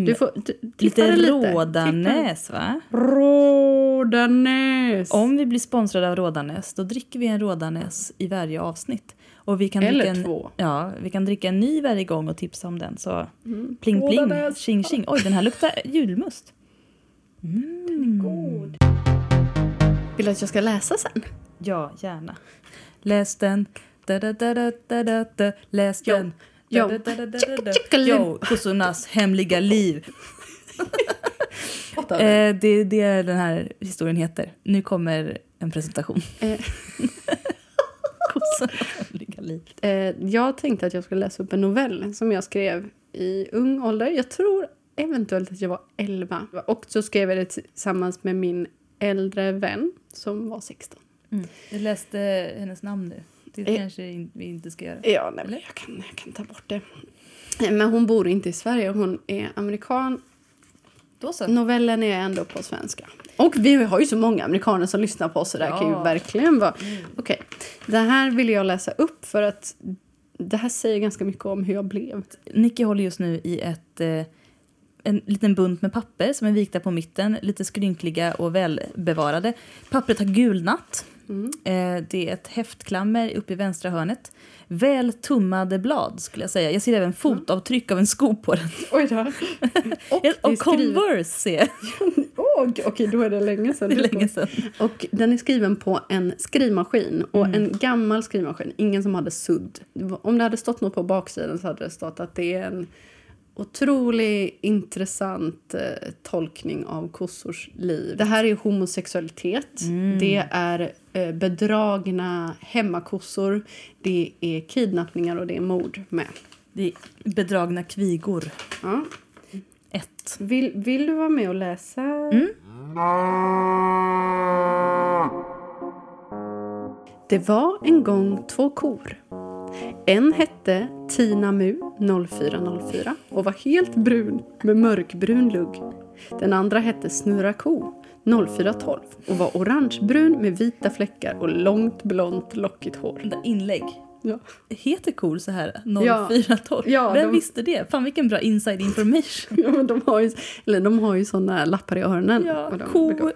B: Du får du, tippa
A: Mm, Lite
B: den
A: Rådanäs, va?
B: Tippa den. Rådanäs.
A: Om vi blir sponsrade av Rådanäs, då dricker vi en Rådanäs i varje avsnitt. Och vi kan
B: Eller
A: dricka en,
B: två.
A: Ja, vi kan dricka en ny varje gång och tipsa om den. Så pling pling,
B: Mm. Rådanäs.
A: tjing tjing. Oj, den här luktar julmust. Mm.
B: Vill du att jag ska läsa sen?
A: Ja, gärna. Läs den. Da, da, da, da, da, da, da. Läs
B: Jo.
A: den.
B: Jo.
A: Da, da, da, da, da, da, da.
B: Tjockalim.
A: Jo, kossornas hemliga liv.
B: Åtta. Eh,
A: Eh, det är det den här historien heter. Nu kommer en presentation. (laughs)
B: Eh.
A: Kossornas hemliga liv.
B: eh, jag tänkte att jag skulle läsa upp en novell som jag skrev i ung ålder. Jag tror eventuellt att jag var 11. Och så skrev jag det tillsammans med min äldre vän som var 16.
A: Mm. Jag läste hennes namn nu. Det
B: Eh.
A: kanske in- vi inte ska göra.
B: Ja, nej, men jag, kan, jag kan ta bort det. Eh, Men hon bor inte i Sverige, hon är amerikan
A: Då så.
B: Novellen är ändå på svenska. Och vi har ju så många amerikaner som lyssnar på oss så det här kan ju
A: Ja.
B: verkligen vara... Okej, det här vill jag läsa upp för att det här säger ganska mycket om hur jag blev.
A: Nicky håller just nu i ett, eh, en liten bunt med papper som är vikta på mitten, lite skrynkliga och välbevarade. Pappret har gulnat. Eh, det är ett häftklammer uppe i vänstra hörnet. Väl tummade blad skulle jag säga. Jag ser även fotavtryck av en sko på den.
B: Oj (laughs) då. Och, det är
A: Och
B: skrivet...
A: Converse ser jag.
B: Åh, Okej, då är det länge sedan.
A: Det är länge sedan.
B: Och den är skriven på en skrivmaskin. Och en gammal skrivmaskin. Ingen som hade sudd. Det var- Om det hade stått något på baksidan så hade det stått att det är en otrolig intressant eh, tolkning av kossors liv. Det här är homosexualitet. Det är eh, bedragna hemmakossor. Det är kidnappningar och det är mord med.
A: Det är bedragna kvigor.
B: Ja.
A: Ett.
B: Vill, vill du vara med och läsa?
A: Mm.
B: Det var en gång två kor. En hette Tina Mu 0404 och var helt brun med mörkbrun lugg. Den andra hette Snurra ko 0412 och var orangebrun med vita fläckar och långt blont lockigt hår.
A: Vänta, Inlägg.
B: Ja. (laughs)
A: Heter kor så här
B: Ja.
A: 0412?
B: Ja,
A: Vem
B: de-
A: visste det? Fan vilken bra inside
B: (laughs)
A: information.
B: Ja, men de har ju, eller de har ju såna lappar i öronen.
A: Ja,
B: Och de
A: ko
B: brukar-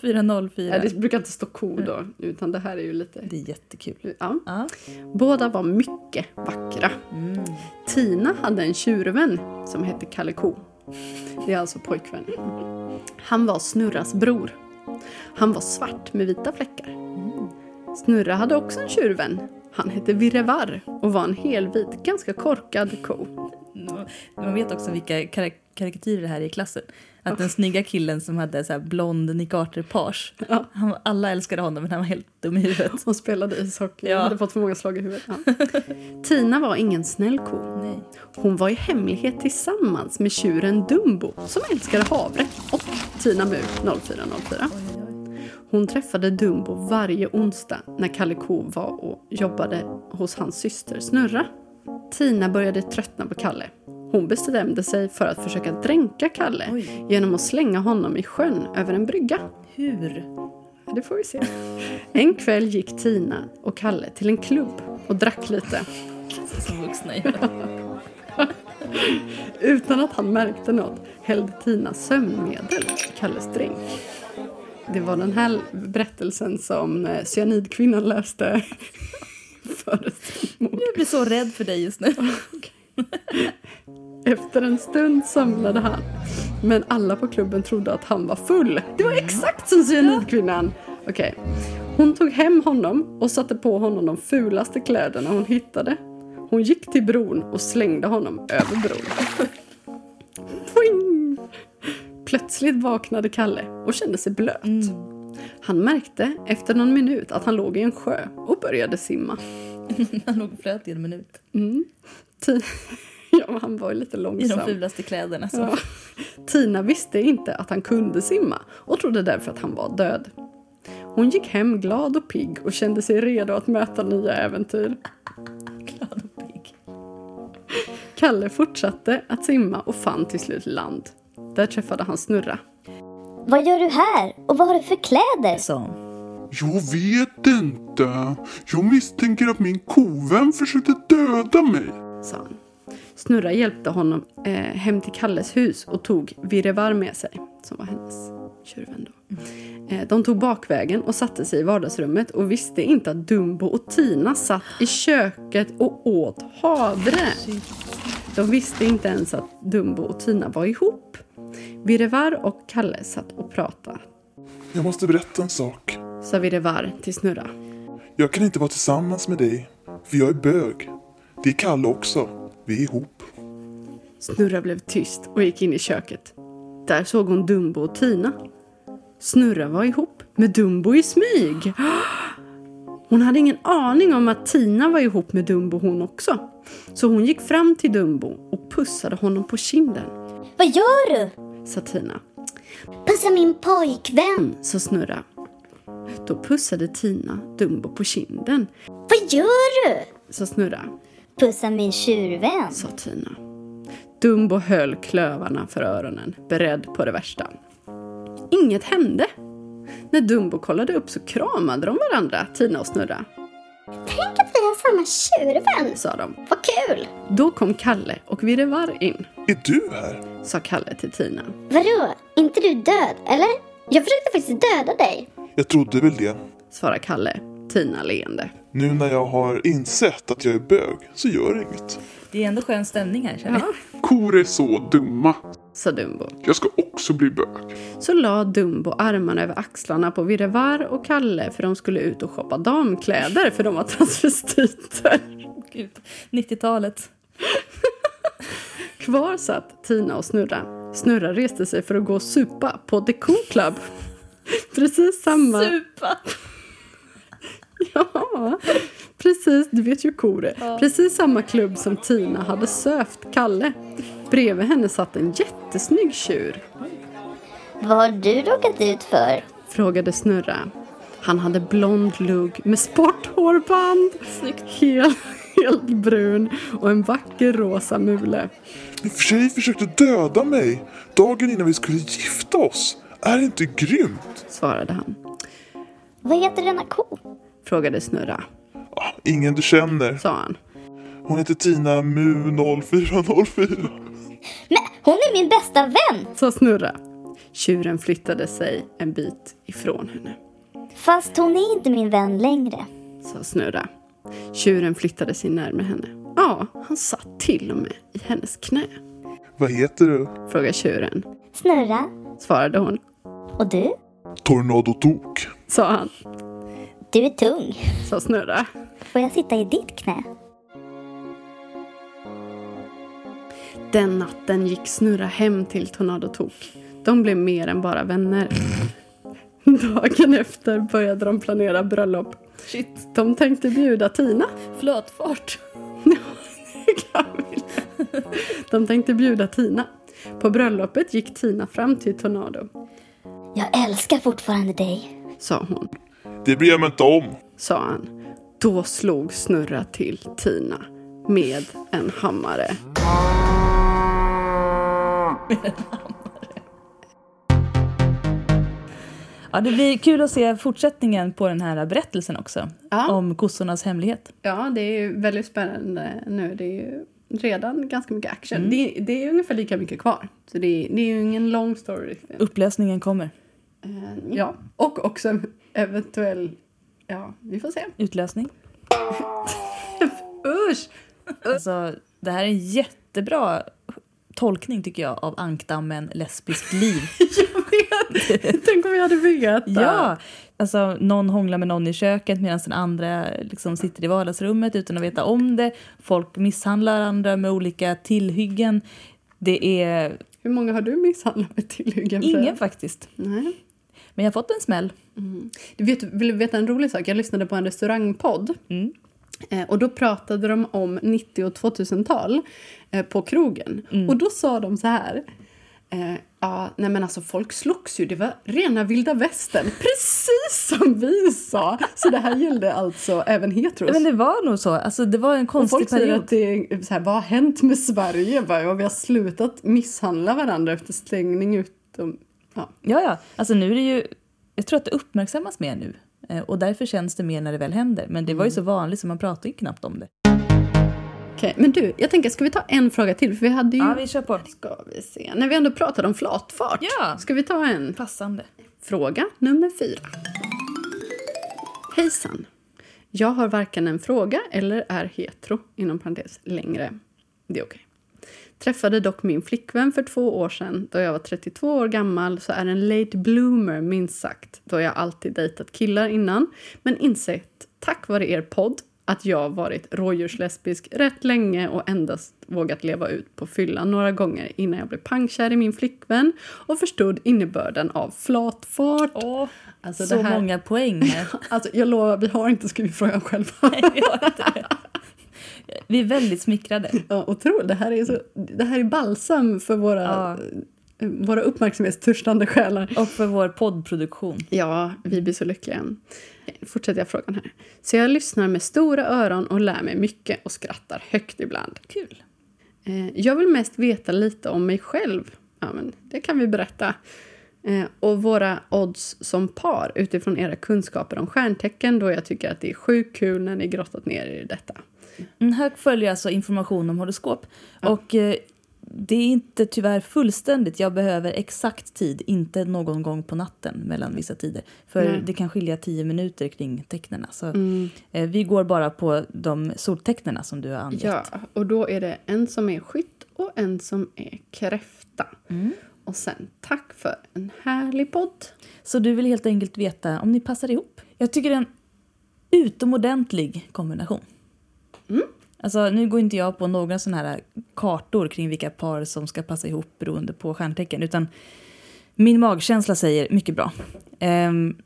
A: 0404.
B: Ja, det brukar inte stå ko då, utan det här är ju lite...
A: Det är jättekul.
B: Ja.
A: Ja.
B: Båda var mycket vackra. Tina hade en tjurvän som hette Kalle Ko. Det är alltså pojkvän. Han var Snurras bror. Han var svart med vita fläckar. Snurra hade också en tjurvän. Han hette Virrevar och var en helvit, ganska korkad ko.
A: Man vet också vilka karak- karikatyrer det här är i klassen. Att den snygga killen som hade så här blond Nick Carter-page,
B: Ja.
A: han- alla älskade honom men han var helt dum i huvudet.
B: Hon spelade ishockey
A: Ja.
B: och hade fått för många slag i huvudet. Ja. Tina var ingen snäll ko.
A: Nej.
B: Hon var i hemlighet tillsammans med tjuren Dumbo som älskade havre och Tina Mu 0404. Hon träffade Dumbo varje onsdag när Kalle Ko var och jobbade hos hans syster Snurra. Tina började tröttna på Kalle. Hon bestämde sig för att försöka dränka Kalle
A: Oj.
B: genom att slänga honom i sjön över en brygga.
A: Hur?
B: Ja, Det får vi se. En kväll gick Tina och Kalle till en klubb och drack lite
A: Som vuxna
B: Utan att han märkte något hällde Tina sömnmedel i Kalles drink. Det var den här berättelsen som eh, cyanidkvinnan läste (laughs) före sin mord.
A: Jag blir så rädd för dig just nu. (laughs)
B: Efter en stund somnade han. Men alla på klubben trodde att han var full. Det var exakt som cyanidkvinnan! Okej. Hon tog hem honom och satte på honom de fulaste kläderna hon hittade. Hon gick till bron och slängde honom över bron. Poing! Plötsligt vaknade Kalle och kände sig blöt.
A: Mm.
B: Han märkte efter någon minut att han låg i en sjö och började simma.
A: Han låg och flöt i en minut.
B: Ti- (laughs) ja, han var ju lite
A: I de
B: långsam.
A: fulaste kläderna. Så.
B: Ja. (laughs) Tina visste inte att han kunde simma och trodde därför att han var död. Hon gick hem glad och pigg och kände sig redo att möta nya äventyr.
A: Glad och pigg.
B: Kalle fortsatte att simma och fann till slut land. Där träffade han Snurra.
E: Vad gör du här? Och vad har du för kläder?
A: Sa hon.
F: Jag vet inte. Jag misstänker att min kovän försökte döda mig.
B: sa han. Snurra hjälpte honom eh, hem till Kalles hus och tog Virrevar med sig, som var hennes tjurvän då. Eh, de tog bakvägen och satte sig i vardagsrummet och visste inte att Dumbo och Tina satt i köket och åt havre. De visste inte ens att Dumbo och Tina var ihop. Virrevar och Kalle satt och pratade,
F: Jag måste berätta en sak.
B: sa Virrevar till Snurra.
F: Jag kan inte vara tillsammans med dig, för jag är bög. Det är Kalle också. Vi är ihop.
B: Snurra blev tyst och gick in i köket. Där såg hon Dumbo och Tina. Snurra var ihop med Dumbo i smyg. Hon hade ingen aning om att Tina var ihop med Dumbo hon också. Så hon gick fram till Dumbo och pussade honom på kinden,
E: Vad gör du?
B: sa Tina.
E: Passa min pojkvän!
B: Så Snurra. Då pussade Tina Dumbo på kinden,
E: Vad gör du?
B: sa Snurra.
E: Pussa min tjurvän!
B: sa Tina. Dumbo höll klövarna för öronen, beredd på det värsta. Inget hände. När Dumbo kollade upp så kramade de varandra, Tina och Snurra,
E: Tänk att vi har samma tjurvän!
B: sa de.
E: Vad kul!
B: Då kom Kalle och Virrevar in,
F: Är du här?
B: sa Kalle till Tina.
E: Vadå? inte du död, eller? Jag försökte faktiskt döda dig.
F: Jag trodde väl det.
B: Svarade Kalle, Tina leende.
F: Nu när jag har insett att jag är bög så gör det inget.
A: Det är ändå skön stämning här känner jag.
F: Kor är så dumma.
B: Sa Dumbo.
F: Jag ska också bli bög.
B: Så la Dumbo armarna över axlarna på Virrevar och Kalle för de skulle ut och shoppa damkläder för de var transvestiter.
A: Gud. 90-talet.
B: Kvar satt Tina och Snurra. Snurra reste sig för att gå och supa på The Cool Club. (laughs) Precis samma...
A: Supa!
B: (laughs) ja, precis. Du vet ju kor är. Precis samma klubb som Tina hade söft Kalle. Bredvid henne satt en jättesnygg tjur.
E: Vad har du råkat ut för?
B: Frågade Snurra. Han hade blond lugg med sporthårband. Helt, (laughs) helt brun och en vacker rosa mule.
F: Min tjej försökte döda mig dagen innan vi skulle gifta oss. Är det inte grymt?
B: Svarade han.
E: Vad heter denna ko?
B: Frågade Snurra.
F: Ah, ingen du känner.
B: Sa han.
F: Hon heter Tina Mu0404.
E: Men hon är min bästa vän!
B: sa Snurra. Tjuren flyttade sig en bit ifrån henne,
E: Fast hon är inte min vän längre.
B: sa Snurra. Tjuren flyttade sig närmare henne. Ja, han satt till och med i hennes knä,
F: Vad heter du?
B: frågade tjuren.
E: Snurra,
B: Svarade hon,
E: och du?
F: Tornado Tok.
B: sa han,
E: Du är tung.
B: sa Snurra.
E: Får jag sitta i ditt knä?
B: Den natten gick Snurra hem till Tornado Tok. De blev mer än bara vänner. Dagen efter började de planera bröllop.
A: Shit.
B: De tänkte bjuda Tina.
A: Flötfart.
B: Kamil. (laughs) De tänkte bjuda Tina. På bröllopet gick Tina fram till Tornado.
E: Jag älskar fortfarande dig.
B: sa hon.
F: Det bryr jag mig inte om.
B: sa han. Då slog Snurra till Tina med en hammare.
A: Ja, det blir kul att se fortsättningen på den här berättelsen också.
B: Ja.
A: Om kossornas hemlighet.
B: Ja, det är ju väldigt spännande nu. Det är ju redan ganska mycket action. Mm. Det, det är ungefär lika mycket kvar. Så det, det är ju ingen lång story. riktigt.
A: Upplösningen kommer.
B: Eh, Ja, och också en eventuell... Ja, vi får se.
A: Utlösning.
B: Usch! (laughs)
A: Alltså, det här är en jättebra tolkning tycker jag av ankdammen lesbiskt liv.
B: Tänk om vi hade vetat.
A: (laughs) ja! Alltså, någon hånglar med någon i köket medan den andra liksom sitter i vardagsrummet utan att veta om det. Folk misshandlar andra med olika tillhyggen. Det är
B: Hur många har du misshandlat med tillhyggen? Freja?
A: ingen faktiskt.
B: Nej. Mm.
A: Men jag har fått en smäll.
B: Du vet, vill du veta en rolig sak? Jag lyssnade på en restaurangpodd. Eh, Och då pratade de om 90 och 2000-tal eh, på krogen. Och då sa de så här. Eh, ja, nej men alltså folk slogs ju. Det var rena vilda västern. Precis som vi sa! Så det här gällde alltså även heteros.
A: Men det var nog så. Alltså, det var en
B: Och
A: konstig
B: folk säger
A: period.
B: att det är så här, vad har hänt med Sverige? Bara, ja, vi har slutat misshandla varandra efter stängning utom... Ja.
A: Ja, ja. Alltså nu är det ju... Jag tror att det uppmärksammas mer nu. Eh, Och därför känns det mer när det väl händer. Men det var ju
B: Mm.
A: så vanligt så man pratade ju knappt om det.
B: Okej, men du, jag tänker, ska vi ta en fråga till? För vi hade ju...
A: kör på.
B: Ska vi se. När vi ändå pratar om flatfart.
A: Ja.
B: Ska vi ta en
A: Passande.
B: fråga nummer fyra? Hejsan. Jag har varken en fråga eller är hetero, inom parentes, längre. Det är okej. Träffade dock min flickvän för två år sedan. Då jag var 32 år gammal så är en late bloomer minst sagt. Då jag alltid dejtat killar innan. Men insett, tack vare er podd, att jag varit rådjurslesbisk rätt länge och endast vågat leva ut på fyllan några gånger innan jag blev pangkär i min flickvän och förstod innebörden av flatfart.
A: Åh,
B: Alltså,
A: så
B: det här-
A: många poäng
B: (laughs)
A: här.
B: Alltså, jag lovar, vi har inte skrivit frågan själva.
A: Vi har inte det. Vi är väldigt smickrade.
B: (laughs) Ja, otroligt. Det här är, så, det här är balsam för våra,
A: Ja.
B: eh, våra uppmärksamhetstörstande själar.
A: Och för vår poddproduktion.
B: Ja, vi blir så lyckliga. Okej, nu Fortsätter jag frågan här. Så jag lyssnar med stora öron och lär mig mycket och skrattar högt ibland.
A: Kul.
B: Eh, Jag vill mest veta lite om mig själv. Ja, men det kan vi berätta. Eh, Och våra odds som par utifrån era kunskaper om stjärntecken då jag tycker att det är sjukt kul när ni grottat ner er i detta.
A: Mm, Här följer alltså information om horoskop. Och eh, det är inte tyvärr fullständigt. Jag behöver exakt tid, inte någon gång på natten mellan vissa tider. För
B: Nej. Mm.
A: det kan skilja tio minuter kring tecknena. Så eh, vi går bara på de soltecknena som du har angett.
B: Ja, och då är det en som är skytt och en som är kräfta.
A: Mm.
B: Och sen tack för en härlig podd.
A: Så du vill helt enkelt veta om ni passar ihop. Jag tycker det är en utomordentlig kombination.
B: Mm.
A: Alltså, nu går inte jag på några sådana här kartor kring vilka par som ska passa ihop beroende på stjärntecken, utan min magkänsla säger mycket bra. Ehm,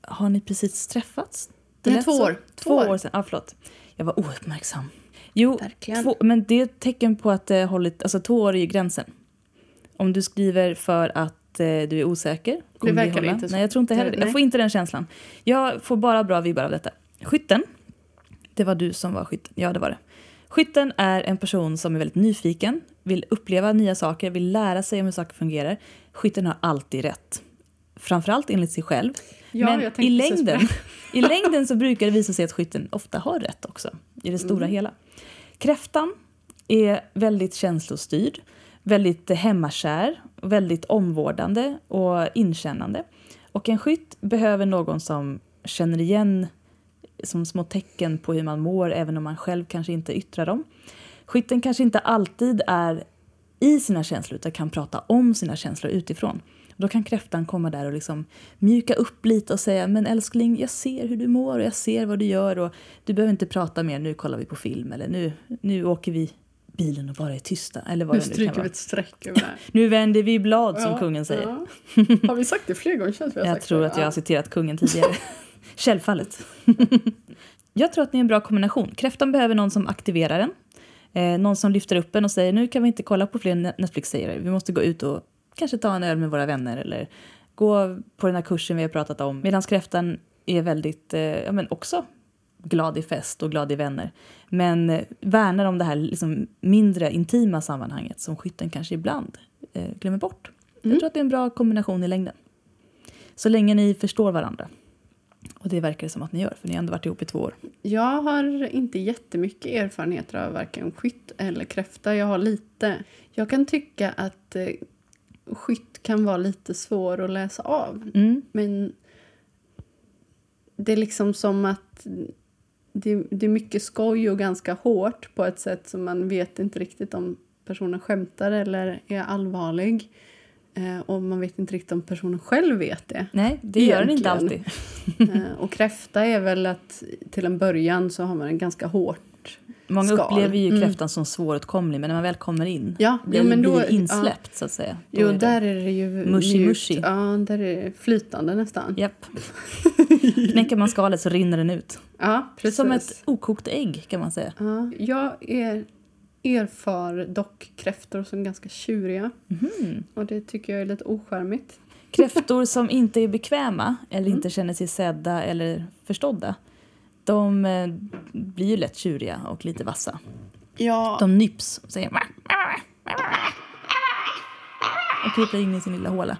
A: har ni precis träffats? Det
B: Nej,
A: lät
B: två
A: så.
B: år.
A: Två år sedan. Ja, förlåt. Jag var ouppmärksam. Jo,
B: Verkligen.
A: två, men det är ett tecken på att det har hållit... Alltså, två år är ju gränsen. Om du skriver för att eh, du är osäker... kommer
B: verkar
A: hålla.
B: inte så.
A: Nej, jag tror inte heller det.
B: Nej.
A: Jag får inte den känslan. Jag får bara bra vibbar av detta. Skytten. Det var du som var skytten. Ja, det var det. Skytten är en person som är väldigt nyfiken, vill uppleva nya saker, vill lära sig om hur saker fungerar. Skytten har alltid rätt. Framförallt enligt sig själv.
B: Ja,
A: Men
B: jag tänkte
A: i
B: precis på
A: längden, (laughs) i längden så brukar det visa sig att skytten ofta har rätt också, i det stora
B: Mm.
A: hela. Kräftan är väldigt känslostyrd, väldigt eh, hemmakär, väldigt omvårdande och inkännande. Och en skytt behöver någon som känner igen som små tecken på hur man mår även om man själv kanske inte yttrar dem. Skytten kanske inte alltid är i sina känslor utan kan prata om sina känslor utifrån. Då kan kräftan komma där och liksom mjuka upp lite och säga men älskling, jag ser hur du mår och jag ser vad du gör och du behöver inte prata mer, nu kollar vi på film eller nu, nu åker vi bilen och bara är tysta. Eller vad
B: Nu
A: det nu kan
B: stryker
A: vara.
B: vi ett streck över det här.
A: Nu vänder vi blad (laughs) som
B: Ja,
A: kungen säger. (laughs)
B: ja. Har vi sagt det fler gånger? Känns vi har
A: Jag
B: sagt
A: tror
B: det.
A: att jag
B: Ja.
A: har citerat kungen
B: (laughs)
A: tidigare. Självfallet. (laughs) jag tror att ni är en bra kombination. Kräftan behöver någon som aktiverar den. Eh, någon som lyfter upp en och säger nu kan vi inte kolla på fler Netflix-serier. Vi måste gå ut och kanske ta en öl med våra vänner eller gå på den här kursen vi har pratat om. Medan kräftan är väldigt, eh, ja men också glad i fest och glad i vänner. Men eh, värnar om det här liksom mindre intima sammanhanget som skytten kanske ibland eh, glömmer bort.
B: Mm.
A: Jag tror att det är en bra kombination i längden. Så länge ni förstår varandra. Och det verkar det som att ni gör, för ni har ändå varit ihop i två år.
B: Jag har inte jättemycket erfarenheter av varken skytt eller kräfta. Jag har lite. Jag kan tycka att eh, skytt kan vara lite svår att läsa av.
A: Mm.
B: Men det är liksom som att det, det är mycket skoj och ganska hårt på ett sätt som man vet inte riktigt om personen skämtar eller är allvarlig. Eh, och man vet inte riktigt om personen själv vet det.
A: Nej, det gör den inte
B: Egentligen.
A: alltid.
B: Eh, Och kräfta är väl att till en början så har man en ganska hårt
A: Många
B: skal. Mm.
A: upplever ju kräftan som svåråtkomlig, men när man väl kommer in
B: Ja,
A: blir,
B: jo, men då-
A: blir insläppt så att säga. Då
B: Jo,
A: är det-
B: där är det ju
A: mushy,
B: mjukt.
A: mushy.
B: Ja, där är det flytande nästan. Ja, (laughs)
A: Japp. Knäcker man skalet så rinner den ut.
B: precis.
A: Som ett okokt ägg kan man säga.
B: Ja, jag är erfar dock kräftor som ganska tjuriga. Och det tycker jag är lite ocharmigt.
A: Kräftor som inte är bekväma eller
B: Mm.
A: inte känner sig sedda eller förstådda de eh, blir ju lätt tjuriga och lite vassa.
B: Ja,
A: De nyps och säger och kryper in i sin lilla håla.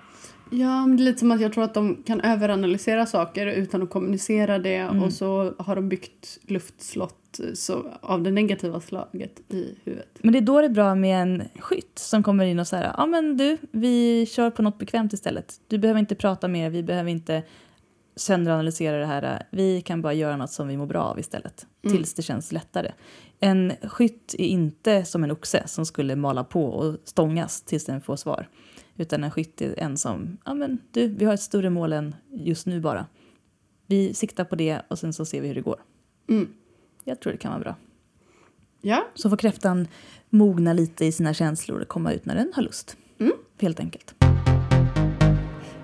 B: ja men det är lite som att jag tror att de kan överanalysera saker utan att kommunicera det och så har de byggt luftslott eh, så, av det negativa slaget i huvudet.
A: Men det är då det är bra med en skytt som kommer in och säger ja ah, men du, vi kör på något bekvämt istället. Du behöver inte prata mer, vi behöver inte sönderanalysera det här. Vi kan bara göra något som vi mår bra av istället, tills det känns lättare. En skytt är inte som en oxe som skulle mala på och stångas tills den får svar. Utan en skytt är en som, ja ah, men du, vi har ett större mål än just nu bara. Vi siktar på det och sen så ser vi hur det går.
B: Mm.
A: Jag tror det kan vara bra.
B: Ja,
A: Så får kräftan mogna lite i sina känslor och komma ut när den har lust.
B: Mm.
A: Helt enkelt.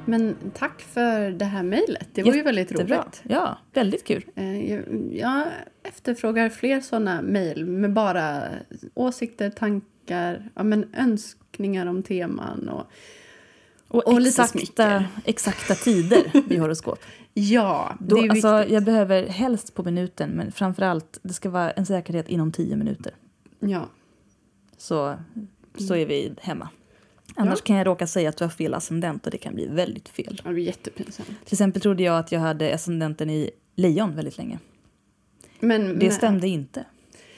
B: men tack för det här mejlet. Det var ju väldigt
A: Jättebra.
B: roligt.
A: Ja, väldigt kul.
B: Eh, Jag, jag efterfrågar fler såna mejl med bara åsikter, tankar, ja, men önskningar om teman. Och,
A: Och,
B: Och lite
A: exakta,
B: smicker.
A: exakta tider i horoskop.
B: ja,
A: Då,
B: (laughs) det är
A: alltså,
B: viktigt.
A: jag behöver helst på minuten, men framför allt det ska vara en säkerhet inom tio minuter.
B: Ja.
A: Så, så är vi hemma. Annars kan jag råka säga att du har fel ascendent och det kan bli väldigt fel.
B: ja, det blir jättepinsamt.
A: Till exempel trodde jag att jag hade ascendenten i lejon väldigt länge.
B: Men,
A: Det
B: men-
A: stämde inte.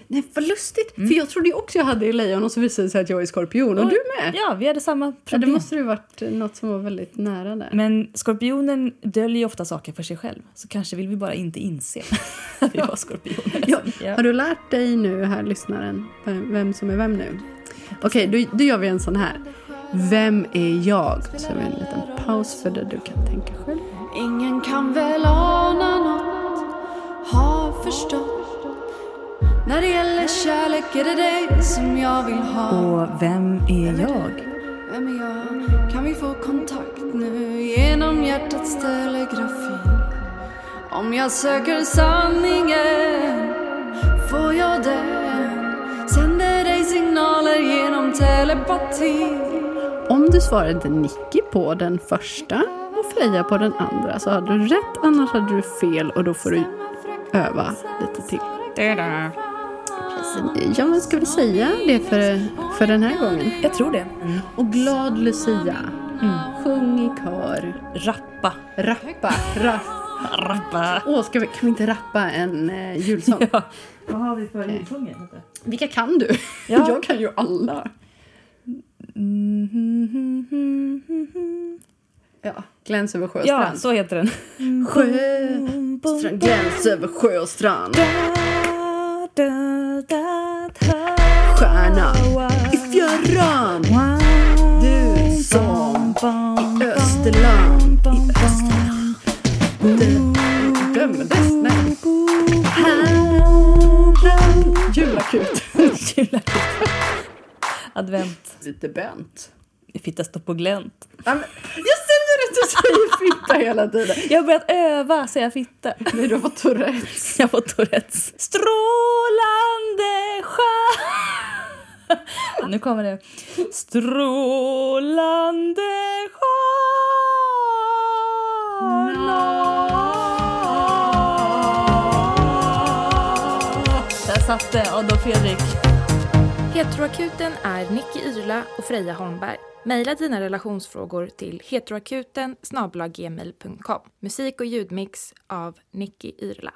B: Nej, vad lustigt! För jag trodde ju också jag hade i lejon och så visade det sig att jag är skorpion. Och du med! Äh. Ja,
A: Ja, vi hade samma problem.
B: det måste ju varit något som var väldigt nära där.
A: Men skorpionen döljer ju ofta saker för sig själv. Så kanske vill vi bara inte inse (laughs) att vi var skorpioner. (laughs)
B: Ja,
A: Ja.
B: Har du lärt dig nu, här lyssnaren, vem, vem som är vem nu? Okej, då, då gör vi en sån här. Vem är jag? Så vi en liten paus för det du kan tänka själv.
G: Ingen kan väl ana något, har förstått När det gäller kärlek är det dig som jag vill ha
A: Och vem är jag?
G: Vem är jag? Kan vi få kontakt nu genom hjärtats telegrafi? Om jag söker sanningen får jag den Sänder dig signaler genom telepati
B: Om du svarade Nicky på den första och Freja på den andra så hade du rätt, annars hade du fel och då får du öva lite till. Precis. Ja, men ska vi säga det för, för den här gången?
A: Jag tror det.
B: Och glad Lucia, sjung i kör,
A: Rappa.
B: rappa, rappa.
A: Rappa.
B: Åh, ska vi, kan vi inte rappa en eh, julsång?
A: (laughs) Ja. Vad har vi för julsånger?
B: Vilka kan du? (laughs)
A: Ja.
B: Jag kan ju alla. Ja, gläns över sjö och
A: Ja,
B: strand.
A: så heter den.
B: Sjö, strand, gläns över sjö och strand. Stjärna i fjärran. Du som i Österland. I Österland. Du dömdes. Nej. Herren. Julakut.
A: (laughs) Julafton. Advent.
B: (laughs) Lite bönt.
A: Fitta står på glänt.
B: Nej, men Jag säger att du säger fitta hela tiden.
A: Jag har börjat öva säga fitta.
B: Nej, du har fått
A: (laughs)
B: Tourettes.
A: Jag får Tourettes. Strålande (laughs) stjärna Nu kommer det. Strålande stjärna Där satt det, Adolf Fredrik.
C: Heteroakuten är Nicky Irla och Freja Holmberg. Mejla dina relationsfrågor till heteroakuten snabel-a gmail punkt com. Musik och ljudmix av Nicky Irla.